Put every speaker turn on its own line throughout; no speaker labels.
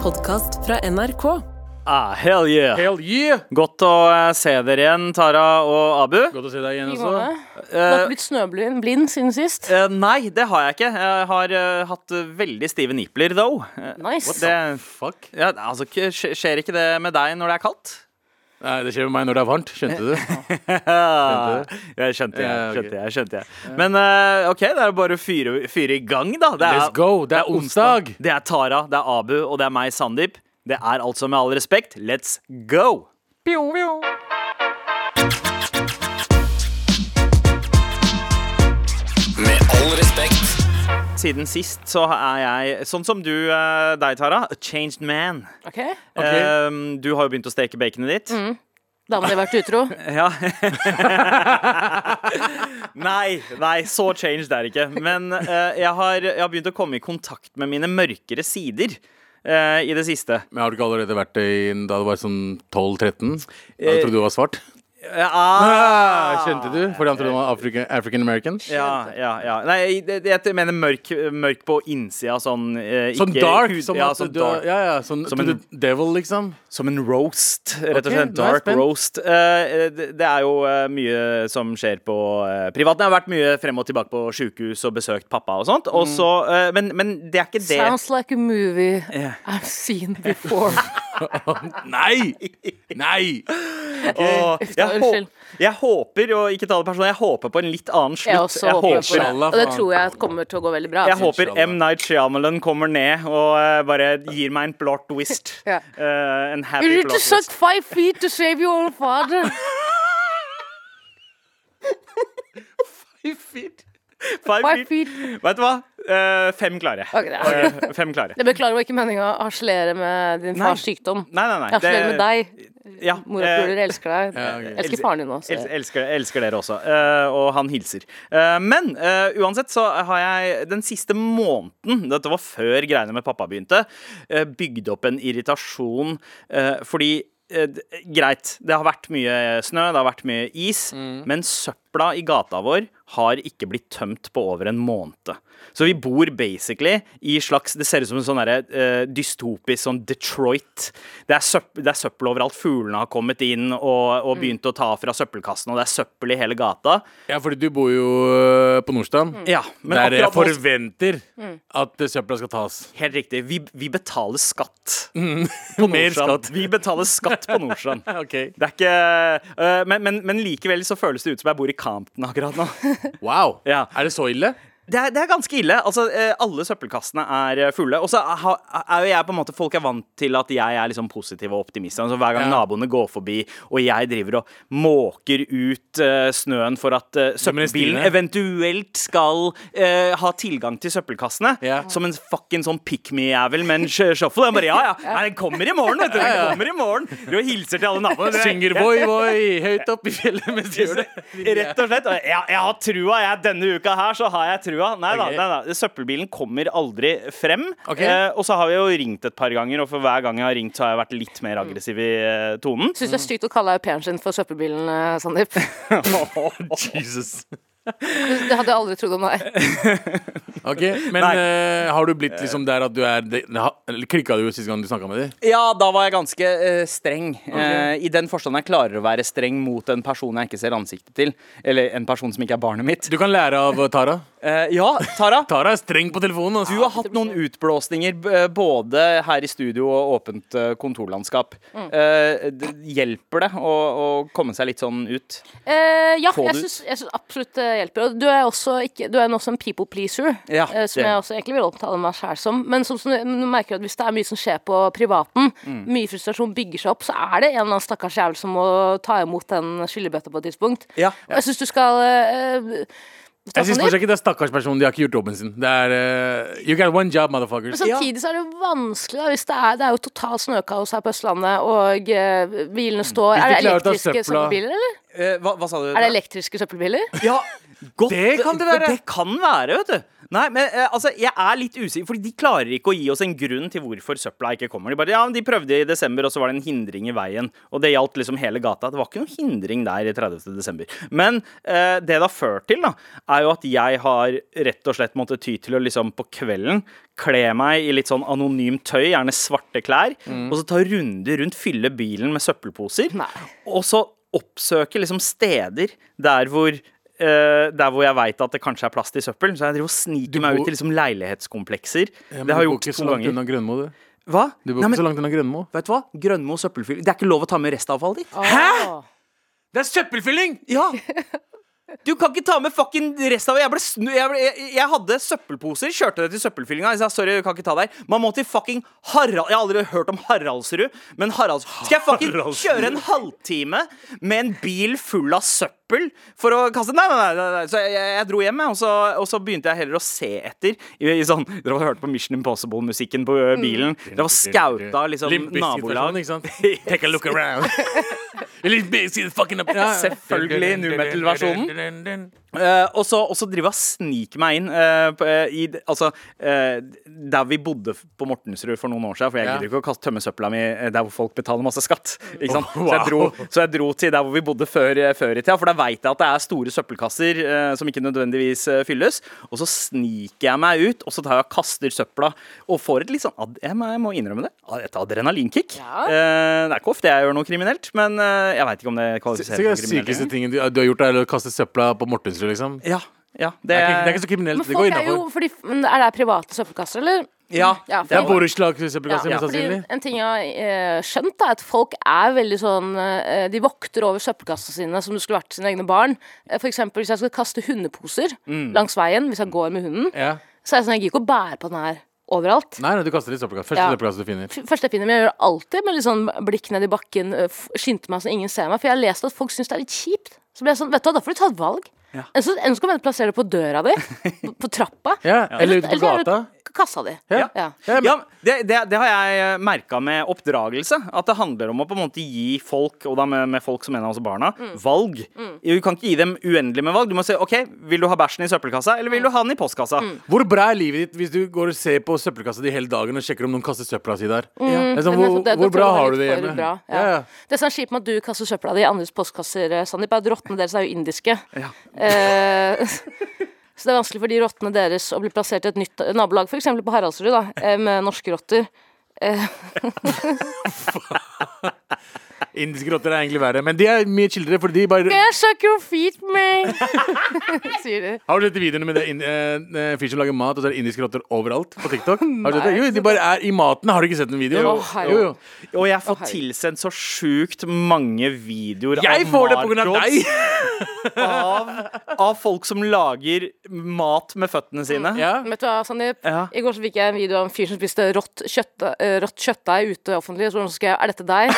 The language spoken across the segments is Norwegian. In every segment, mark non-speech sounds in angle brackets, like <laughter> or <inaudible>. podkast fra NRK.
Ah, hell yeah.
Hell yeah!
Godt å eh, se dere igjen, Tara og Abu.
Godt å se deg igjen
I
også.
måte. Du har
Altså, Eh,
ikke blitt snøblind blind siden sist?
eh, nei, det har jeg ikke. Jeg har eh, hatt eh, veldig stive nipler, though. Eh,
Nice.
det,
Fuck.
ja, altså, k- skj- skjer ikke det med deg når det er kaldt? <laughs>
Nei, det skjer med meg når det er varmt. Skjønte du det?
<laughs>
Ah,
Skjønte
jeg skjønte, jeg,
Ja, ok.
skjønte jeg. skjønte jeg. Men eh, OK, det er bare å fyre, fyre i gang, da. Det
Let's go. Det er onsdag.
Det er Tara, det er Abu, og det er meg, Sandeep. Det er altså med all respekt, let's go!
Med all respekt.
Siden sist så er jeg, sånn som du, eh, deg, Tara, a changed man.
Ok,
Ok. Mm.
Ehm, du har jo begynt å steke baconet ditt.
Da må de ha vært utro.
<laughs> Ja. nei, nei, så changed er det ikke. Men eh, jeg, har, jeg har begynt å komme i kontakt med mine mørkere sider eh, i det siste.
Men har du ikke allerede vært det i, da du var sånn 12-13? Da
Eh,
du trodde du var svart?
Ah,
Ah, skjønte du? Fordi han trodde han var African, African American?
Ja, ja, ja. Nei, det- det- jeg mener mørk, mørk på innsida, sånn eh,
Sånn
ikke
dark?
hud-
Som
ja,
at
sånn
du,
dark.
ja, ja, sånn
Som
to
en-
the devil, liksom?
Som en roast, rett og
Ok,
slett.
nå er jeg
Dark
spent.
roast. Eh, det, det er jo eh, mye som skjer på eh, privaten. Jeg har vært mye frem og tilbake på sjukehus og besøkt pappa og sånt. Og så, eh, men, men det er ikke <laughs> det.
Mm. Sounds like a movie
Ja.
I've seen
<laughs>
before. <laughs>
Nei! Nei!
Og
Uff, da,
jeg,
unnskyld.
hå jeg håper, og ikke ta det personlig, jeg håper på en litt annen slutt.
Jeg også håper på det.
Inshallah,
Og det
faen.
tror jeg kommer til å gå veldig bra.
Jeg håper
Inshallah.
M. Night Shyamalan kommer ned og eh, bare gir meg en blått twist.
<laughs> Ja.
Eh, en
You
happy
need to
plot
suck
twist.
five feet to save your own
<laughs>
father.
Five
Five
feet.
feet.
Vet du hva? Eh, fem klare.
Ok, det er-
Eh,
<laughs>
fem klare.
Jeg beklager, det var ikke meninga å harselere med din fars
Nei.
sykdom.
Nei, nei, nei.
Jeg harselerer med deg.
Ja, eh,
Morapuler, elsker deg.
Ja, ok.
Elsker faren din også.
El elsker, elsker dere også. eh, og han hilser. Eh, men eh, uansett så har jeg den siste måneden, dette var før greiene med pappa begynte, eh, bygd opp en irritasjon eh, fordi eh, d- Greit, det har vært mye snø, det har vært mye is, men søpla i gata vår har ikke blitt tømt på over en måned. Så vi bor basically i slags Det ser ut som en sånn derre, eh, dystopisk sånn Detroit. Det er, søpp, det er søppel overalt. Fuglene har kommet inn og,
Mm.
og begynt å ta fra søppelkassen, og det er søppel i hele gata.
Ja, fordi du bor jo øh, på Nordstrand.
Mm.
Ja, men
der eh, jeg
akkurat nå
forventer at øh, søpla skal tas.
Helt riktig. Vi, vi betaler skatt.
Mer
Nordstrand.
skatt.
Vi betaler skatt på
<laughs>
Nordstrand.
Ok.
Det er ikke eh, men, men, men likevel så føles det ut som jeg bor i Campton akkurat nå.
Wow.
Ja.
Er det så ille?
Det er, det er ganske ille. Altså, eh, alle søppelkassene er eh, fulle. Og så ha- er jo jeg på en måte Folk er vant til at jeg er liksom positiv og optimist. Altså, hver gang
Ja.
naboene går forbi, og jeg driver og måker ut eh, snøen for at eh,
Men det
søppelbilen
stiler.
eventuelt skal eh, ha tilgang til søppelkassene,
Ja.
som en fucking sånn pick me-jævel med en sj- shuffle. Jeg bare ja, ja. Nei, den kommer i morgen, vet du. Den kommer i morgen. Du hilser til alle
<laughs>
naboene. Du,
Synger
jeg-
voi voi høyt opp i fjellet
<laughs>
mens du gjør det.
Rett og slett. og Jeg, jeg har trua. Jeg, denne uka her så har jeg trua. Nei da,
Ok.
nei da. Søppelbilen kommer aldri frem.
Ok.
Eh, og så har vi jo ringt et par ganger, og for hver gang jeg har ringt, så har jeg vært litt mer aggressiv i eh, tonen.
Syns det er stygt å kalle au pairen sin for søppelbilen, eh, Sandeep.
Jesus.
Det hadde jeg aldri trodd om deg.
Ok, Men eh, har du blitt liksom der at du er det- ha- eller Klikka du sist gang du snakka med dem?
<laughs> Ja, da var jeg ganske eh, streng. Eh, I den forstand jeg klarer å være streng mot en person jeg ikke ser ansiktet til. Eller en person som ikke er barnet mitt.
Du kan lære av eh, Tara.
Eh, ja, Tara.
Tara er streng på telefonen. Altså.
Du har hatt noen utblåsninger b- både her i studio og åpent eh, kontorlandskap. Eh, d- hjelper det å, å komme seg litt sånn ut?
Eh, ja,
Få
jeg
det ut.
syns, jeg syns absolutt det hjelper. Og du er også, ikke, du er også en people pleaser,
Ja,
eh, som
det-
jeg også egentlig vil omtale meg sjæl som. Men som, som du du merker at hvis det er mye som skjer på privaten, mye frustrasjon bygger seg opp, så er det en eller annen stakkars jævel som må ta imot den skyllebøtta på et tidspunkt.
Ja.
Og jeg syns du skal eh, ta
Jeg synes
sånn
fortsatt ikke det er stakkars personen. De har ikke gjort jobben sin. Det er eh, You got one job,
Men
motherfuckers.
Altså,
samtidig så er det jo vanskelig, da, hvis det er, det er jo totalt snøkaos her på Østlandet, og eh, bilene står
Mm. Hvis
Er
de
det
klarer å ta
elektriske
søpla-
søppelbiler, eller?
Eh, hva, hva sa du?
Er det elektriske søppelbiler?
Ja, godt,
Det kan det være.
Det kan være, vet du. Nei, men eh, altså, jeg er litt usikker, Fordi de klarer ikke å gi oss en grunn til hvorfor søpla ikke kommer. De bare, ja, men de prøvde i desember, og så var det en hindring i veien. Og det gjaldt liksom hele gata. Det var ikke noen hindring der i 30. desember. Men eh, det det har ført til, da, er jo at jeg har rett og slett måttet ty til å liksom på kvelden kle meg i litt sånn anonymt tøy, gjerne svarte klær,
Mm.
og så ta runder rundt, fylle bilen med søppelposer.
Nei.
Og så oppsøke liksom steder der hvor eh, der hvor jeg veit at det kanskje er plass til søppel. Så jeg driver og sniker meg
bor-
ut i liksom leilighetskomplekser.
Ja, men
det har jeg
du bor
gjort
ikke så
to
langt
ganger.
unna Grønmo, du.
Hva?
Du bor
Nei,
ikke så
men,
langt unna Grønmo.
vet du hva? Grønmo og søppelfyll Det er ikke lov å ta med restavfallet ditt.
Hæ?!
Det er søppelfylling!
Ja! <laughs> Du kan ikke ta med fucking restavfall. Jeg, ble snu, jeg, ble, jeg, jeg hadde søppelposer, kjørte det til søppelfyllinga. Jeg sa sorry, jeg kan ikke ta der. Man må til fucking Harald Jeg har aldri hørt om Haraldsrud, men Haralds... Skal jeg fucking kjøre en halvtime med en bil full av søppel for å kaste Nei, nei, nei. nei. Så jeg, jeg, jeg dro hjem, jeg, og så, og så begynte jeg heller å se etter i, i sånn Dere har hørt på Mission Impossible-musikken på ø, bilen. Mm. Det var skauta liksom
Limp
nabolag.
Bizkit-versjonen,
<laughs>
ikke sant? Take a look around. Limp Bizkit fucking up.
Selvfølgelig nu metal-versjonen. Eh, og så og så driver jeg og sniker meg inn eh, på, eh, i, d- altså, eh, der vi bodde f- på Mortensrud for noen år siden. For jeg
Ja.
gidder ikke å kaste tømme søpla mi eh, der hvor folk betaler masse skatt. Ikke
<laughs>
sant?
Oh,
så, jeg dro,
wow.
så jeg dro til der hvor vi bodde før, eh, før i tida, for der veit jeg at det er store søppelkasser eh, som ikke nødvendigvis eh, fylles. Og så sniker jeg meg ut, og så tar jeg og kaster søpla, og får et litt sånn ad jeg, må, jeg må innrømme det, et adrenalinkick.
Ja.
Eh, det er ikke ofte jeg gjør noe kriminelt, men eh, jeg veit ikke om det kvalifiserer
Sikkert
for
den
kriminelt.
sykeste tingen du, du har gjort, er å kaste søpla på Mortensrud, liksom.
Ja, ja, det,
Det er, ikke, det er ikke så kriminelt.
Men
Det går
folk er jo
innafor.
fordi, men Er det private søppelkasser, eller?
Ja,
Ja,
det er
for-
bare
Ja,
Borettslagssøppelkasse, mest
fordi
sannsynlig.
en ting jeg har eh, skjønt, da, er at folk er veldig sånn eh, De vokter over søppelkassene sine som det skulle vært sine egne barn. Eh, For eksempel hvis jeg skal kaste hundeposer
Mm.
langs veien, hvis jeg går med hunden,
Ja.
så er det sånn jeg gidder ikke å bære på den her overalt.
Nei, nei, du kaster i søppelkasse. Første
Ja.
søppelkasse du finner.
F- Første jeg finner, men jeg gjør det alltid med litt sånn blikk ned i bakken, eh, f- skyndte meg så ingen ser meg, for jeg har lest at folk syns det er litt kjipt. Så ble jeg sånn, vet du hva, da får du ta et valg.
Ja.
Enten så- enten så kan du plassere det på døra di, på, på trappa,
<laughs> Ja, eller ute på
så er det
gata.
k- Kassa di.
Ja.
Ja.
Ja, men-
Ja, det, det, det har jeg merka med oppdragelse. At det handler om å på en måte gi folk, og da med, med folk som en av oss barna,
Mm.
valg. Du kan ikke gi dem uendelig med valg. Du må si OK, vil du ha bæsjen i søppelkassa, eller
Mm.
vil du ha den i postkassa?
Hvor bra er livet ditt hvis du går og ser på søppelkassa di hele dagen og sjekker om noen kaster søpla si der? Det
Mm.
er sånn,
Men jeg
hvor,
tror- det-
hvor
det tror
bra
jeg var
har du
litt
det
for
hjemme?
bra, ja.
Ja, ja.
Det som er kjipt med at du kaster søpla di i andres postkasser, eh, Sandeep, er at rottene deres er jo indiske. Eh, <laughs> så det er vanskelig for de rottene deres å bli plassert i et nytt nabolag, f.eks. på Haraldsrud, da, eh, med norske rotter.
Indiske rotter er egentlig verre, men de er mye chillere, for de bare
Jeg suck your feet,
<laughs>
mate! <laughs> Sier de.
Har du sett de videoene med det inn- eh, eh, fyr som lager mat, og så er det indiske rotter overalt på TikTok? Har du sett det? Jo, de bare er i maten. Har du ikke sett den videoen?
Jo. Å, herregud.
Og jeg får
herregud.
tilsendt så sjukt mange videoer
Jeg
av
får det på grunn av
markrods
deg!
Av, av folk som lager mat med føttene sine.
Mm. Ja.
Vet du hva, Sandeep?
Ja.
I går så fikk jeg en video av en fyr som spiste rått, kjøtt, eh, rått kjøttdeig ute offentlig. Så skal jeg Er dette
<laughs>
deg?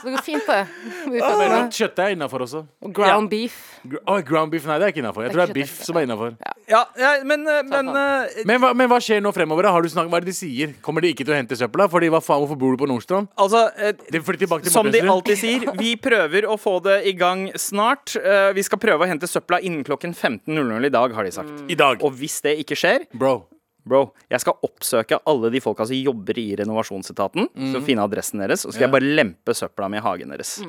så det går fint, det. Med de føttene.
Rødt kjøtt er innafor også.
Og Ground beef.
Gr- Å, ground beef, nei, det er ikke innafor. Jeg tror det
Det er
er biff
ikke
som er innafor.
Ja, ja, men, eh, men eh,
Men, hva- men hva skjer nå fremover? da? Har du snakket, hva er det de sier? Kommer de ikke til å hente søpla? Fordi hva faen, hvorfor bor du på Nordstrand?
altså eh,
De flytter tilbake til
Som de
Mortensrud.
alltid sier,
<laughs>
vi prøver å få det i gang snart. Eh, vi skal prøve å hente søpla innen klokken 15.00 i dag, har de sagt.
I dag.
Og hvis det ikke skjer,
Bro.
bro, jeg skal oppsøke alle de folka som jobber i renovasjonsetaten,
Mm.
Så finne adressen deres, og så skal jeg bare lempe søpla mi i hagen deres.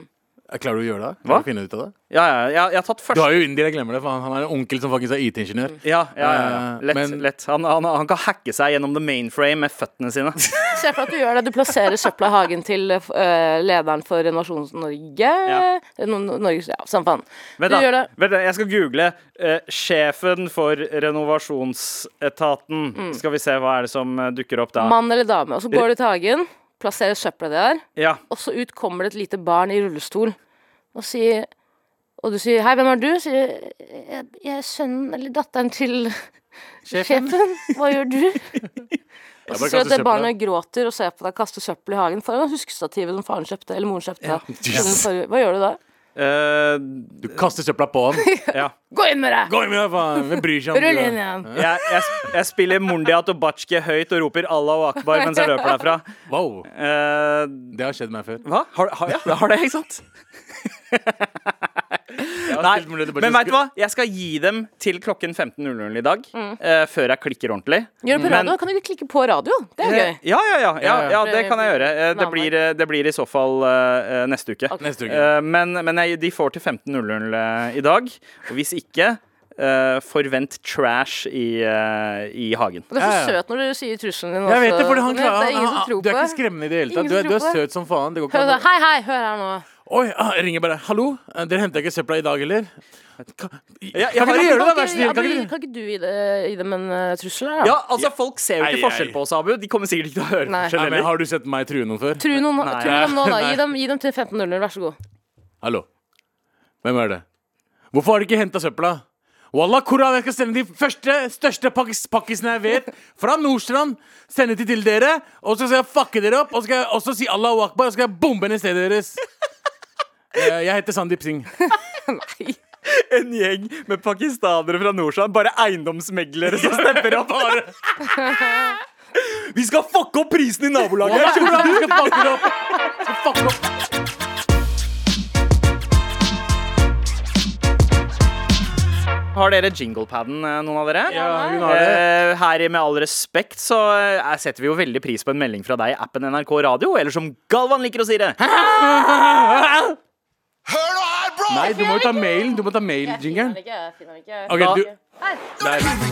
Klarer du å gjøre det?
Hva?
Klarer du å finne ut av det?
Ja, ja, jeg, jeg har tatt
Mm. Du
første
har jo indier, jeg glemmer det. For han, han er en onkel som faktisk er
Mm.
IT-ingeniør.
ja, ja, ja, ja.
Eh,
Lett.
men-
lett. Han, han, han kan hacke seg gjennom the mainframe med føttene
<laughs>
sine.
Se for deg at du gjør det. Du plasserer søpla i hagen til eh, f- eh, lederen for Renovasjon Norge.
Ja.
No, no, Norges, ja, samme faen. Du
Vent,
gjør
da.
det.
Vent da. Jeg skal google eh, 'sjefen for renovasjonsetaten'.
Mm.
Skal vi se hva er det som eh, dukker opp da.
Mann eller dame. Og så går du til hagen, plasserer søpla di der,
Ja.
og så ut kommer det et lite barn i rullestol og sier Og du sier 'Hei, hvem er du?' sier jeg, 'Jeg er sønnen eller datteren til sjefen. Hva gjør
<laughs>
du?' Og så
bare
ser du at
kaster
det
søpla.
barnet gråter og ser på deg kaste søppel i hagen foran huskestativet som faren kjøpte, eller moren
<laughs>
kjøpte. Den
Jesus.
forrige- Hva gjør du da?
Eh,
Du kaster søpla på
<laughs>
han.
ja.
Gå inn med deg!
Gå inn med deg, faen! Hvem bryr seg om
Rull
det?
inn igjen.
jeg, jeg, sp- jeg spiller Mundia Tobatsjke høyt og roper 'Allahu akbar' mens jeg løper derfra.
Wow.
Eh,
Det har skjedd meg før.
hva? Har, har, ja, har det, ikke sant? Nei,
spilt muligheter, bare
men
til
veit du hva? Jeg skal gi dem til klokken 15.00 i dag.
Mm.
eh, før jeg klikker ordentlig.
Gjør det på
Men-
radio. Kan du ikke klikke på radio? Det er gøy.
Ja, ja, ja, ja,
Ja, ja.
ja, det kan jeg gjøre. Eh, Det
Navnet.
blir, eh, det blir i så fall eh, eh, neste uke.
Neste uke.
Eh, Men, men jeg, de får til 15.00 eh, i dag. Og hvis ikke, eh, forvent trash i, eh, i hagen.
Og det er
Ja,
så
ja.
søt når du sier trusselen din.
Jeg vet
også.
det, fordi
Altså,
han
Det
klarer
er ingen
han,
som
han,
tror
Du er
på
ikke
det.
skremmende i det hele tatt.
Ingen
Du
som
er, du er
tror på det.
søt som
<laughs>
faen. Det går
Hør da,
ikke an.
Hei, hei, hør her nå.
Oi, ah, jeg ringer bare. Hallo, eh, dere henta ikke søpla i dag, eller? Kan,
Ja, jeg
kan
har-
ikke du gjøre det, da?
Kan
Vær så snill.
ikke- ja,
Kan ikke
du-
du
Kan ikke du gi det, gi dem en eh, trussel? her, Da?
Ja, altså Folk ser jo
Ei,
ikke forskjell
ei.
på oss, Abu. De kommer sikkert ikke til å høre
Nei.
Nei,
forskjell
men
heller.
Har du sett meg true noen før?
Tru, noen,
Nei.
tru dem nå, da. Gi dem, gi dem til 1500, vær så god.
Hallo. Hvem er det? Hvorfor har du ikke henta søpla? Wallah, Koran, jeg skal sende de første, største pakkis- pakkisene jeg vet, fra Nordstrand. Sende de til dere. Og så skal jeg fucke dere opp, og så skal jeg også si Allahu akbar, og så skal jeg bombe ned stedet <laughs> deres. Eh, Jeg heter Sandeep Singh.
En gjeng med pakistanere fra Nordsjøen, bare eiendomsmeglere som stepper opp. Vi skal fucke opp prisen i nabolaget!
Wallah, Koran, jeg skal fucke dere opp. Jeg Skal fucke dere opp.
Har dere jinglepaden, eh, noen av dere?
Ja, hun har det.
Eh, Her i Med all respekt så eh, setter vi jo veldig pris på en melding fra deg i appen NRK Radio, eller som Galvan liker å si det.
Hør nå her, bro!
Nei, du må jo ta mailen. Du må ta mail-jingeren.
Jingeren.
Ok, du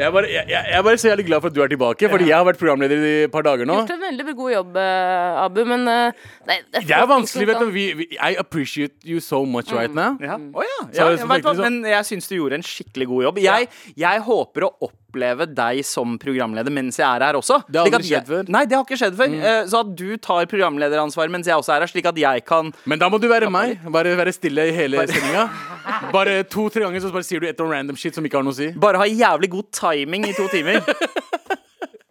Jeg er bare, jeg, jeg jeg er bare så jævlig glad for at du er tilbake, fordi jeg har vært programleder i et par dager nå.
Gjort en veldig god jobb, eh, Abu, men eh, nei, det,
Det er vanskelig, vet du. Vi, vi, I appreciate you so much right now.
Ja. Å ja. ja,
Så er det
jeg
så
vet hva,
merkelig så-
men jeg syns du gjorde en skikkelig god jobb. Jeg, jeg håper å oppleve deg som programleder mens jeg er her også.
Det har
Slik
aldri
at jeg-
skjedd før.
Nei, det har ikke skjedd før. Eh, Så at du tar programlederansvaret mens jeg også er her, slik at jeg kan
Men da må du være meg. Bare være stille i hele sendinga. Bare to-tre ganger så bare sier du et eller annet random shit som ikke har noe å si.
bare ha jævlig god timing i to
<laughs>
timer.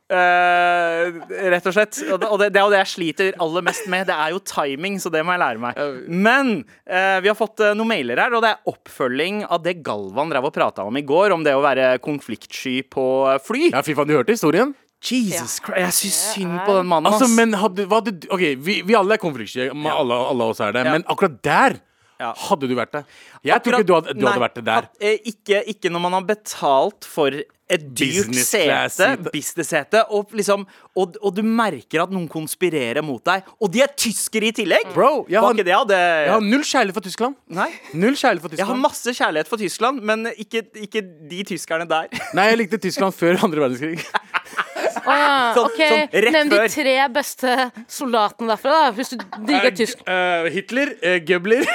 Eh, rett og slett. Og det, og det, det er jo det jeg sliter aller mest med. Det er jo timing, så det må jeg lære meg. Men eh, vi har fått eh, noen mailer her, og det er oppfølging av det Galvan drev og prata om i går, om det å være konfliktsky på eh, fly.
Ja, fy faen, du hørte historien?
Jesus Christ, jeg syns synd
er-
på den mannen.
Altså,
ass.
men hadde, hva hadde du OK, vi, vi alle er konfliktsky. ma- Alle, alle oss er det. Men akkurat der
Ja.
hadde du vært det. Jeg tror
Akkurat-
ikke du hadde, du
Nei,
hadde vært det der.
at, eh, ikke, ikke når man har betalt for et dyrt
Business class
sete,
seat.
business-sete, og, liksom, og, og du merker at noen konspirerer mot deg, og de er tyskere i tillegg!
Bro, jeg
Var
har-
ikke det jeg hadde
Jeg har null kjærlighet for Tyskland.
Nei.
Null kjærlighet for
Jeg har
Tyskland.
masse kjærlighet for Tyskland, men ikke, ikke de tyskerne der. <laughs>
Nei, jeg likte Tyskland før andre verdenskrig.
ja.
Sånn-
Ok,
sånn rett
Nevn de
før.
tre beste soldatene derfra, da, hvis du digger tysk.
Eh, Hitler, uh, <laughs> Gøbler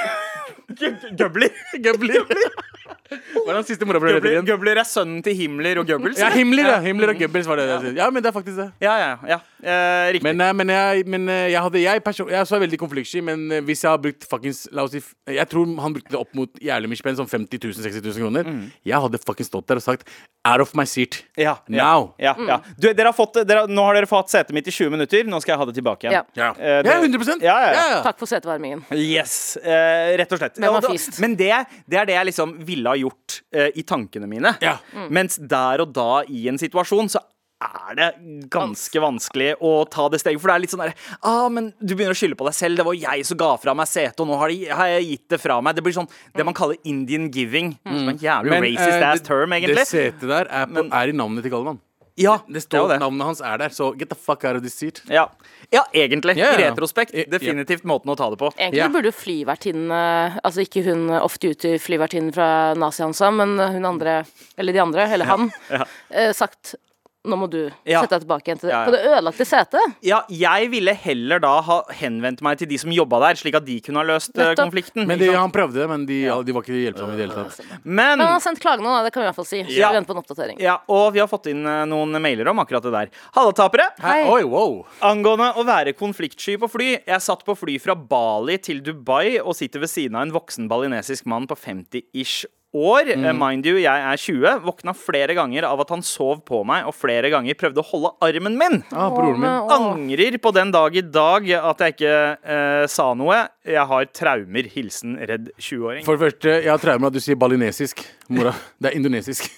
Gøbler.
Gøbler. Hva er den siste morapuleren
Gøbler,
igjen?
Gøbler er sønnen til Himmler og Goebbels.
Ja, Himmler, ja. Himmler og Goebbels var det. jeg sa. Ja, men det er faktisk det.
Ja, ja, ja. Eh, riktig.
Men, eh, men, jeg, men eh, jeg hadde Jeg, person, jeg er også veldig konfliktsky, men eh, hvis jeg har brukt fuckings La oss si f- Jeg tror han brukte det opp mot jævlig mye spenn, sånn 50 000-60 000 kroner. Jeg hadde fuckings stått der og sagt Out of my seat.
Mm. Ja, ja,
Now.
ja, ja. Du, dere har fått, dere, nå har dere fått setet mitt i 20 minutter. Nå skal jeg ha det tilbake igjen.
Ja.
Ja,
Eh, det-
ja 100
Ja, ja, ja.
Takk for setevarmingen.
Yes, eh, rett og slett.
Hvem har
Og da-
fist?
men det, det er det jeg liksom ville ha gjort eh, i tankene mine.
Ja.
Mens der og da i en situasjon, så er det ganske vanskelig å ta det steget. For det er litt sånn der ah, men Du begynner å skylde på deg selv. Det var jo jeg som ga fra meg setet, og nå har, de, har jeg gitt det fra meg. Det blir sånn det man kaller Indian giving. Som er en jævlig
Men,
racist
eh,
ass term, egentlig.
Det setet der er, på,
Men-
er i navnet til Galvan.
ja,
Det
er jo
står Navnet hans er der, så get the fuck out of this seat.
Ja. ja, egentlig.
Ja, ja,
I
ja.
retrospekt.
I- ja.
Definitivt måten å ta det på.
Egentlig
Ja.
burde jo flyvertinnen eh, Altså ikke hun eh, ofte ute i flyvertinnen fra Nazi-Hansa, men eh, hun andre, eller de andre, eller han, eh, sagt nå må du
Ja.
sette deg tilbake igjen til det.
Ja, ja.
På det ødelagte setet.
Ja, jeg ville heller da ha henvendt meg til de som jobba der, slik at de kunne ha løst eh,
Nettopp.
konflikten.
Men de, han prøvde, men de, ja, de var ikke hjelpsomme i det hele tatt.
Men
Men
han har sendt klage nå, da, det kan vi i hvert fall si. Så
Mm. Ja.
vi venter på en oppdatering.
ja, og vi har fått inn eh, noen mailer om akkurat det der. Halla, tapere!
Hæ? Oi, wow.
Angående å være konfliktsky på fly. Jeg satt på fly fra Bali til Dubai og sitter ved siden av en voksen balinesisk mann på 50-ish år. Eh, Mind you, jeg er 20. Våkna flere ganger av at han sov på meg og flere ganger prøvde å holde armen min.
Ah, broren min.
Åh.
Angrer på den dag i dag at jeg ikke eh, sa noe. Jeg har traumer. Hilsen redd 20-åring.
For det første, jeg har traumer av at du sier balinesisk. Mora, det er indonesisk.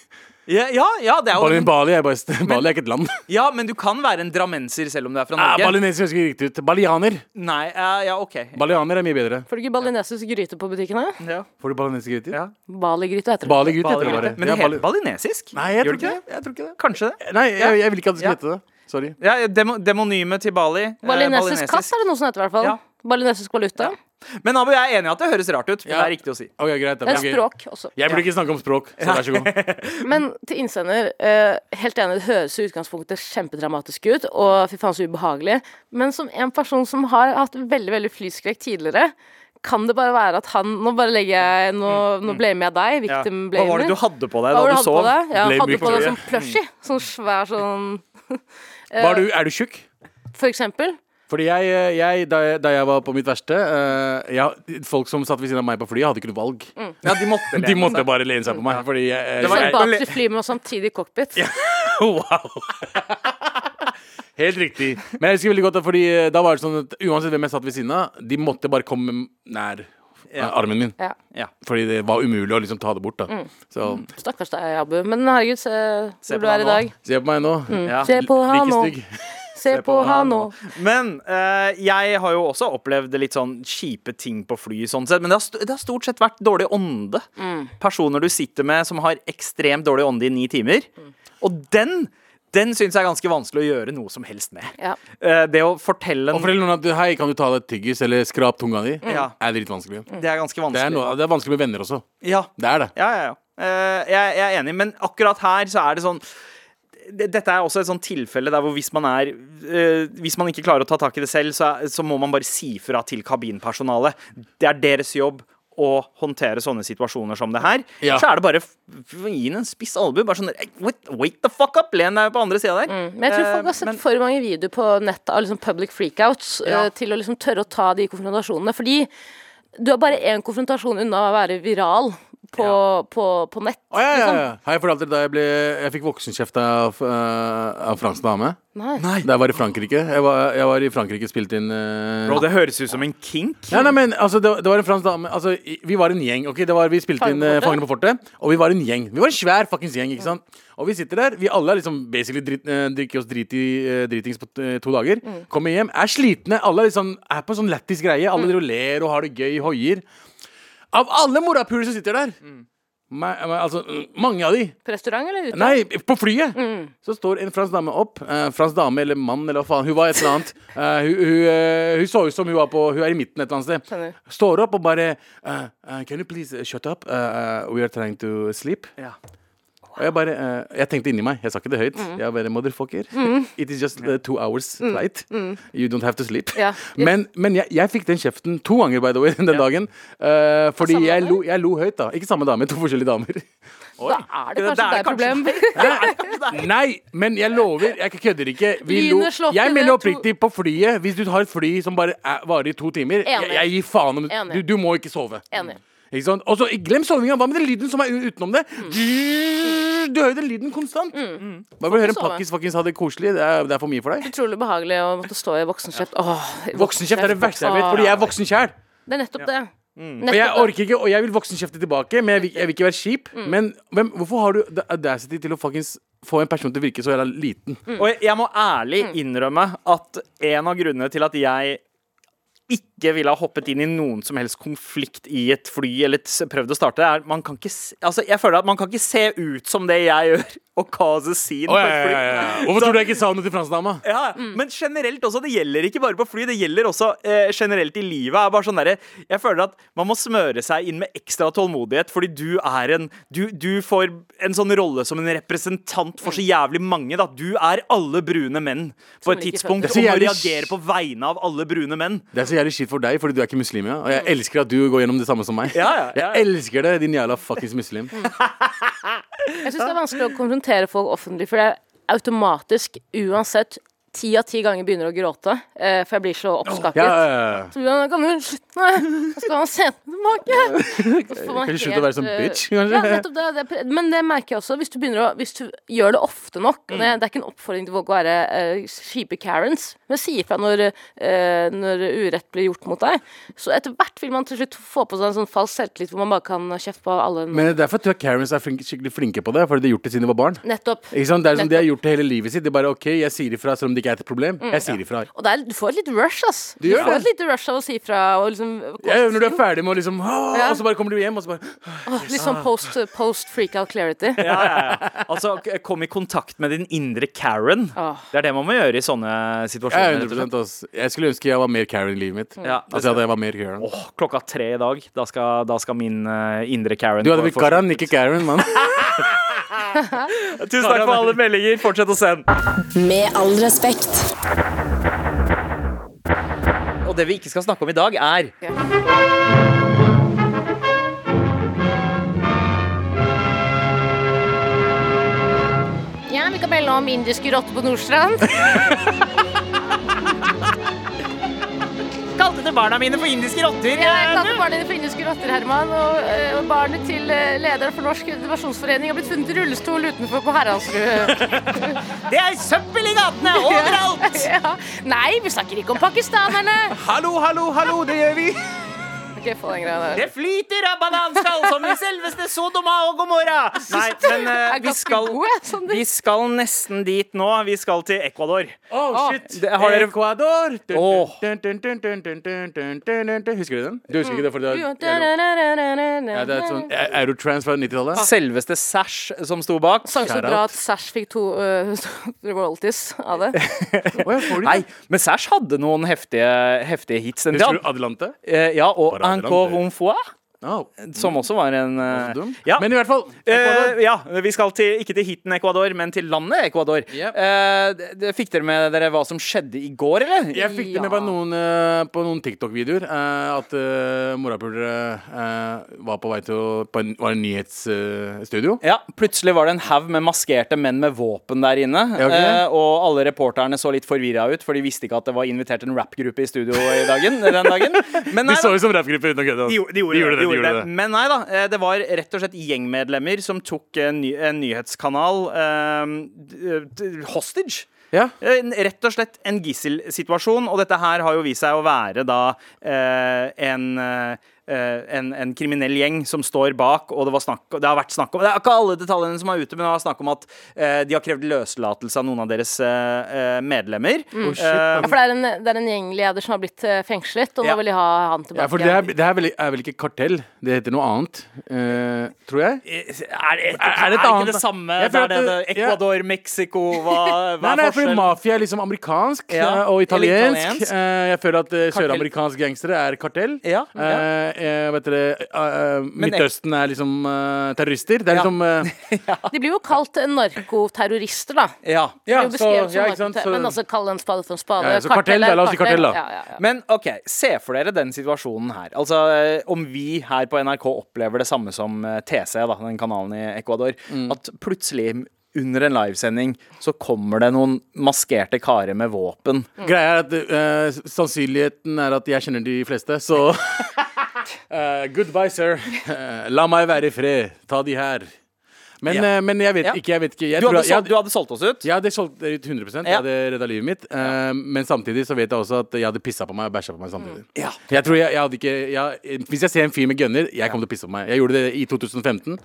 Ja, ja, ja, det er
Bali,
jo
Bali, er bare, et sted- Bali er ikke
<laughs>
et land.
Ja, men du kan være en drammenser selv om du er fra
Ah,
Norge.
Balineser høres ikke riktig ut. Balianer.
Nei, eh, ja, OK.
Balianer er mye bedre.
Får du ikke balinesisk gryte på butikkene?
Ja.
Får du balinesisk gryter?
Ja.
Baligryte heter det.
Baligryte heter det bare.
Men
Ja,
det heter
Bali-
balinesisk?
Nei, jeg
Gjør
tror ikke det. Jeg tror ikke det.
Kanskje det?
Nei, jeg, jeg vil ikke at det
Ja.
skulle hete det. Sorry.
Ja, demo, demonymet til Bali. eh,
Balinesisk katt er det noe som heter, i hvert fall.
Ja.
Balinesisk valuta.
Men Abu, jeg er enig i at det høres rart ut, men
Ja.
det er riktig å si.
Ok, greit.
Det
da.
er
Ok.
språk også.
Jeg burde ikke snakke om språk, så vær
<laughs>
så god.
Men til innsender, eh, helt enig, det høres i utgangspunktet kjempedramatisk ut, og fy faen så ubehagelig. Men som en person som har hatt veldig, veldig flyskrekk tidligere, kan det bare være at han Nå bare legger jeg Nå, nå blamer jeg deg,
Mm. Ja.
victim
Hva
blamer.
var det du hadde på deg
Hva var det
da du
hadde på
sov?
deg? Ja,
Blame
hadde på deg
Victoria.
sånn plushie. Sånn svær sånn
Var du, er du tjukk?
For eksempel.
Fordi jeg, jeg da, jeg, da jeg var på mitt verste eh, jeg, Folk som satt ved siden av meg på flyet, hadde ikke noe valg.
Mm. Ja, de måtte
<laughs> De
lene
måtte bare lene seg på meg. Fordi jeg, eh,
Det var-
Sånn
jeg,
bak til fly, men samtidig i cockpit.
Wow. Helt riktig. Men jeg husker veldig godt at fordi eh, da var det sånn at uansett hvem jeg satt ved siden av, de måtte bare komme nær eh,
Ja.
armen min.
Ja.
Ja.
Fordi det var umulig å liksom ta det bort. da
Mm.
Så
Stakkars deg, Abu. Men herregud, se
Se
hvor
på
du er i
deg
dag.
nå.
se på meg nå.
Ja.
Mm. Se på han nå.
Like stygg.
Se på han nå.
Men eh, jeg har jo også opplevd litt sånn kjipe ting på fly, sånn sett. Men det har, st det har stort sett vært dårlig ånde.
Mm.
Personer du sitter med som har ekstremt dårlig ånde i ni timer.
Mm.
Og den, den syns jeg er ganske vanskelig å gjøre noe som helst med.
Ja.
Eh, det å fortelle
Og fortell noen at hei, kan du ta deg et tyggis eller skrap tunga di?
Mm.
Ja.
Er dritvanskelig.
Det er ganske
Det
vanskelig.
er, noe, det er vanskelig med venner også.
Ja,
Det er det.
ja, ja. ja. Eh, jeg, jeg er enig, men akkurat her så er det sånn d- dette er også et sånt tilfelle der hvor hvis man er eh, Hvis man ikke klarer å ta tak i det selv, så, er, så må man bare si fra til kabinpersonalet. Det er deres jobb å håndtere sånne situasjoner som det her.
Ja.
Så er det bare f- f- Gi den en spiss albue. Bare sånn "Hey, wait, wake the fuck up! Len deg på andre sida der.
Mm, Men jeg tror folk
Eh,
har sett
men-
for mange videoer på nettet av liksom public freakouts
Ja.
eh, til å liksom tørre å ta de konfrontasjonene. Fordi du er bare én konfrontasjon unna å være viral på, på, på nett. liksom.
Å, ja, ja, ja. Har jeg fortalt dere da jeg, ble, jeg fikk voksenkjeft av, eh, av fransk dame?
Nei.
Da jeg var i Frankrike. Jeg var, jeg var i Frankrike spilte inn eh,
Bro, det høres ut som en kink.
Nei, nei, men altså, det, var- det var en fransk dame altså, i- Vi var en gjeng. ok? Det var, vi spilte inn eh, Fangene på fortet, og vi var en gjeng. Vi var en svær fuckings gjeng. ikke sant? Og vi sitter der. Vi alle er liksom basically drit, eh, drikker oss drit i, eh, dritings på eh, to dager. Kommer hjem, er slitne. Alle er, liksom, er på en sånn lættis greie. Alle driver og ler og har det gøy, hoier. Av alle morapuler som sitter der, meg- meg- altså, mm, mange av de
På restaurant eller ute?
Nei, på flyet!
Mm.
Så står en fransk dame opp. Eh, fransk dame eller mann eller hva faen. Hun var et
<laughs>
eller annet. Eh, hun, hun, eh, hun så ut som hun var på Hun er i midten et eller annet sted.
Skjønner.
Står opp og bare eh, eh, Can you please eh, shut up? Eh, eh, we are trying to sleep.
Ja.
Og jeg bare eh, Jeg tenkte inni meg. Jeg sa ikke det høyt.
Mm.
Jeg bare Motherfucker. <laughs> It is just eh, two hours flight. You don't have to sleep.
Mm. Ja.
<laughs> Men, men jeg, jeg fikk den kjeften to ganger by the way <laughs> den dagen. Eh, fordi
Samme
jeg
dame?
lo, jeg lo høyt, da. Ikke samme dame, to forskjellige damer.
Da er det
Det- det
kanskje
er
deg problem.
Nei, men jeg lover, jeg kødder ikke.
Line Slåtte,
jeg
det
mener
er
oppriktig på flyet. Hvis du har et fly som bare er, varer i to timer, jeg,
Enig.
jeg gir faen om
Enig.
du, du må ikke sove.
Enig.
Ikke sant? Og så glem sovinga. Hva med den lyden som er u- utenom det?
Mm.
Du hører jo den lyden konstant. Bare for å høre en
sove.
pakkis fuckings ha det koselig. Det er, det er for mye for deg.
Utrolig behagelig å måtte stå i voksenkjeft. Åh,
Voksenkjeft er det verste jeg vet, fordi jeg er voksen sjæl.
Det er nettopp det.
Og jeg
Nettopp det.
orker ikke, og jeg vil voksenkjefte tilbake, men jeg vil, jeg vil ikke være kjip.
Mm.
Men hvem, hvorfor har du the audacity til å fuckings få en person til å virke så jævla liten?
Og jeg må ærlig innrømme at en av grunnene til at jeg ikke ville ha hoppet inn i noen som helst konflikt i et fly eller s- prøvd å starte, er man kan ikke, s- altså jeg føler at man kan ikke se ut som det jeg gjør, og cause a scene
Å,
på
ja,
et
ja,
fly.
ja, ja.
<laughs>
Hvorfor tror du jeg ikke sa noe til franskdama?
Ja, Men generelt også, det gjelder ikke bare på fly, det gjelder også eh, generelt i livet. Er bare sånn derre- jeg føler at man må smøre seg inn med ekstra tålmodighet, fordi du er en Du, du får en sånn rolle som en representant for så jævlig mange. Da. Du er alle brune menn på et
liker
tidspunkt, og må
føtter. Det er så jævlig-
reagere på vegne av alle brune menn.
Det er så jævlig shit for deg, fordi du er ikke muslim. Ja. Og jeg elsker at du går gjennom det samme som meg.
Ja, ja, ja.
Jeg elsker det, din jævla fuckings <laughs> muslim.
Jeg syns det er vanskelig å konfrontere folk offentlig, for det er automatisk, uansett ti av ti ganger begynner å gråte, eh, for jeg blir så oppskaket.
Ja, ja, ja.
Så blir han, kan du slutte med det? Så skal han se tilbake. <laughs> Så får man
Kan du slutte
helt,
å være sånn
eh,
bitch,
Ja,
kanskje?
nettopp det, det. er pre- Men det merker jeg også. Hvis du, begynner å, hvis du gjør det ofte nok og
Mm.
det, det er ikke en oppfordring til folk å være eh, kjipe Karens, men si ifra når, eh, når urett blir gjort mot deg. Så etter hvert vil man til slutt få på seg en sånn falsk selvtillit hvor man bare kan kjefte på alle.
Men det er derfor tror jeg Karens er flink, skikkelig flinke på det, fordi de har gjort det siden de var barn.
Nettopp.
Ikke sant? Det er som De har gjort det hele livet sitt. Det er bare OK, jeg sier ifra selv om det ikke er et problem. Jeg sier ifra.
Og det er, du får et lite rush, ass. Du,
gjør
får
det.
et lite rush av å si ifra. Og liksom,
Ja, når du er ferdig med å liksom «Åh»,
Ja.
Og så bare kommer du hjem, og så bare
Åh, litt
Ah.
sånn post, post freakout
<laughs>
clarity.
Ja, ja, ja. Altså, k- kom i kontakt med din indre Karen.
Åh.
Det er det man må gjøre i sånne
Jeg er
situasjoner. rett og
100
slett.
ass. Jeg skulle ønske jeg var mer Karen i livet mitt.
Ja, det
altså at jeg var mer Karen.
Åh, klokka tre i dag. Da skal, da skal min eh, indre Karen
Du hadde
få-
blitt Karan, ikke Karen, mann.
Tusen takk for alle meldinger. Fortsett å sende.
Med all respekt.
Og det vi ikke skal snakke om i dag, er
Ja, vi kan melde om indiske rotter på
<laughs>
Nordstrand.
Kalte det barna mine for indiske rotter.
Ja, jeg kalte barnet dine for indiske rotter, Herman. Og, eh, og barnet til eh, lederen for Norsk Innovasjonsforening har blitt funnet i rullestol utenfor på
<laughs>
Herransrud.
Det er søppel i
<laughs>
gatene overalt!
ja. Nei, vi snakker ikke om pakistanerne.
<laughs> Hallo, hallo, hallo, det gjør vi.
Ok, få den greia der.
Det flyter av bananskall som i selveste Sodoma og Gomorra. Nei, men
Jeg
eh,
er
vi
ganske
skal
god, jeg, Sander.
Vi skal nesten dit nå. Vi skal til Ecuador.
Oh, shit.
Det- har dere-
Ecuador.
Åh.
Husker du den? Du husker ikke det, for det
Jo,
er Euro-
da-da-da-da-da-da.
ja, det er et sånn e- Eurotrans fra 90-tallet.
Selveste Sash som sto bak.
Sang så
Shout
bra
out.
at Sash fikk to eh, <laughs> royalties av det.
Å, ja, får du
Nei,
det?
men Sash hadde noen heftige, heftige hits. Den
Husker du Adelante?
Eh, ja, og
Bare
Encore
Adelante.
un fois,
Oh.
som også var en eh,
Dum.
ja.
Men i hvert fall Ecuador.
Eh, ja, vi skal til, ikke til heaten Ecuador, men til landet Ecuador.
Yep.
Eh, det- det- fikk dere med dere hva som skjedde i går, eller?
Jeg fikk det
Ja.
med på noen, eh, på noen TikTok-videoer eh, at uh, morapulere eh, var på vei til å på en, var en nyhetsstudio.
Ja, Plutselig var det en haug med maskerte menn med våpen der inne.
Ja, ok.
eh, og alle reporterne så litt forvirra ut, for de visste ikke at det var invitert en rappgruppe i studio i dagen, <laughs> den dagen. Men nei
de så
da.
ut som rappgruppe uten å kødde. ass.
De gjorde, de gjorde,
de gjorde det. De gjorde det.
Men nei da, eh, det var rett og slett gjengmedlemmer som tok en, ny, en nyhetskanal eh, d- d- hostage.
Ja.
Eh, Rett og slett en gisselsituasjon, og dette her har jo vist seg å være da eh, en eh, en, en kriminell gjeng som står bak, og det, var snakk, det har vært snakk om Det er ikke alle detaljene som er ute, men det har vært snakk om at eh, de har krevd løslatelse av noen av deres eh, eh, medlemmer. Eh,
Ja, for det er en, det er en gjengleder som har blitt eh, fengslet, og nå
Ja.
vil de ha han tilbake.
Ja, for det, er, det er, vel, er vel ikke kartell? Det heter noe annet, eh, tror jeg.
Er, er, det
er det
ikke
annet?
det samme?
Jeg
Det
føler
er det, det,
at det- ja.
Ecuador, Mexico Hva, <laughs> hva
Nei,
er
nei, fordi
forskjellen?
Mafia er liksom amerikansk
Ja,
eh, og
eller
italiensk.
italiensk.
Eh, jeg føler at eh,
Kartell.
søramerikanske gangstere er kartell.
Ja, ja.
Eh, eh, vet dere, eh, eh, Midtøsten er liksom eh, terrorister. Det er
Ja.
liksom eh,
<laughs>
De blir jo kalt eh, narkoterrorister, da.
Ja.
ja,
Det blir jo
så-
beskrevet som
ja, ikke sant,
narkoter-
så-
Men altså, kall en spade for en spade.
Ja, ja, så kartell,
er
da. La oss si kartell, da.
Ja, ja, ja.
Men ok, se for dere den situasjonen her. Altså eh, Om vi her på NRK opplever det samme som eh, TC, da, den kanalen i Ecuador, at plutselig under en livesending så kommer det noen maskerte karer med våpen.
Greia er at eh, sannsynligheten er at jeg kjenner de fleste,
<laughs>
så Eh, Goodbye, sir. Eh, la meg være i fred. Ta de her. Men,
Ja.
eh, men jeg vet
Ja.
ikke. Jeg vet ikke. Jeg
Du
tror
hadde,
at- jeg
sol, du hadde solgt oss ut?
jeg hadde solgt det ut 100 Jeg
Ja.
hadde redda livet mitt. eh, men samtidig så vet jeg også at jeg hadde pissa på meg og bæsja på meg samtidig.
Mm. Ja.
Jeg tror jeg, jeg hadde ikke jeg, Hvis jeg ser en fyr med gunner, jeg kommer til å pisse på meg. Jeg gjorde det i 2015.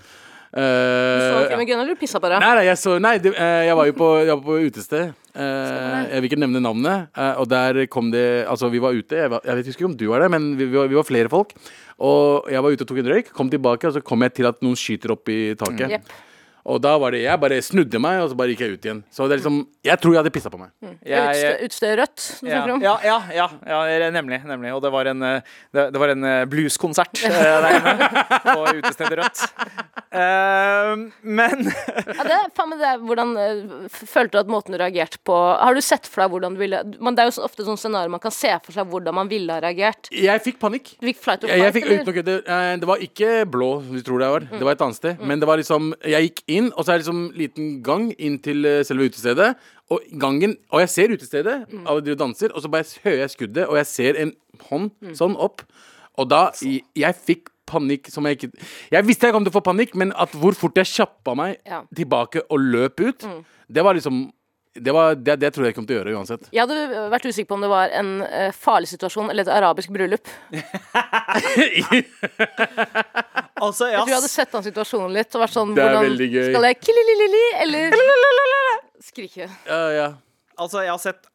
Eh,
Så han
ja.
filmen Gunnar, du pissa på deg.
Nei, nei, jeg, så, nei det, eh, jeg var jo på, jeg var på utested. Eh, jeg vil ikke nevne navnet. eh, og der kom det Altså, vi var ute. Jeg, var, jeg vet ikke om du var der, men vi, vi, var, vi var flere folk. Og jeg var ute og tok en røyk, kom tilbake, og så kom jeg til at noen skyter opp i taket.
Jepp.
Og da var det Jeg bare snudde meg, og så bare gikk jeg ut igjen. Så det er liksom Jeg tror jeg hadde pissa på meg.
Utstø- Utstø Rødt, som du
ja,
snakker om.
ja, ja, ja, ja, nemlig. nemlig. Og det <laughs> var en, eh, det, det var en eh, blueskonsert eh, der inne på utestedet Rødt. Eh, men <laughs>
Ja, det, er faen, meg det er hvordan eh, f- Følte du at måten du reagerte på Har du sett for deg hvordan du ville Men det er jo så ofte sånn scenario man kan se for seg hvordan man ville ha reagert.
Jeg fikk panikk.
Du fikk flight or
Jeg, jeg
flight,
fikk, uten å kødde, eh, det var ikke blå, som du tror det var. Det var et annet sted. Men det var liksom Jeg gikk inn, og så er det liksom liten gang inn til eh, selve utestedet. Og gangen Og jeg ser utestedet, og de danser, og så bare hører jeg skuddet, og jeg ser en hånd sånn opp. Og da Jeg, jeg fikk panikk som jeg ikke Jeg visste jeg kom til å få panikk, men at hvor fort jeg kjappa meg
Ja.
tilbake og løp ut, det var liksom det, var, det, det tror jeg jeg kom til å gjøre uansett.
Jeg hadde vært usikker på om det var en eh, farlig situasjon eller et arabisk bryllup.
altså,
Jeg
ja,
tror jeg hadde sett den situasjonen litt og vært sånn
Det er
hvordan,
veldig gøy.
Skal jeg kilililili eller skrike?
Ja, ja.
Altså, jeg har sett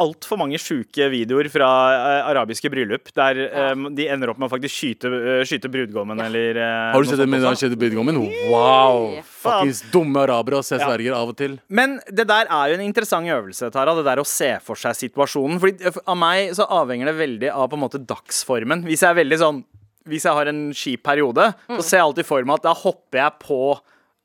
altfor mange sjuke videoer fra eh, arabiske bryllup der eh, de ender opp med å faktisk skyte, eh, skyte brudgommen eller eh,
Har du
noe
sett det
sånt
med
også.
den skjedde brudgommen? Wow!
Faen.
Fuckings dumme arabere og jeg
Ja.
sverger av og til.
Men det der er jo en interessant øvelse, Tara. Det der å se for seg situasjonen. Fordi eh, av meg så avhenger det veldig av på en måte dagsformen. Hvis jeg er veldig sånn Hvis jeg har en kjip periode,
Mm.
så ser jeg alltid for meg at da hopper jeg på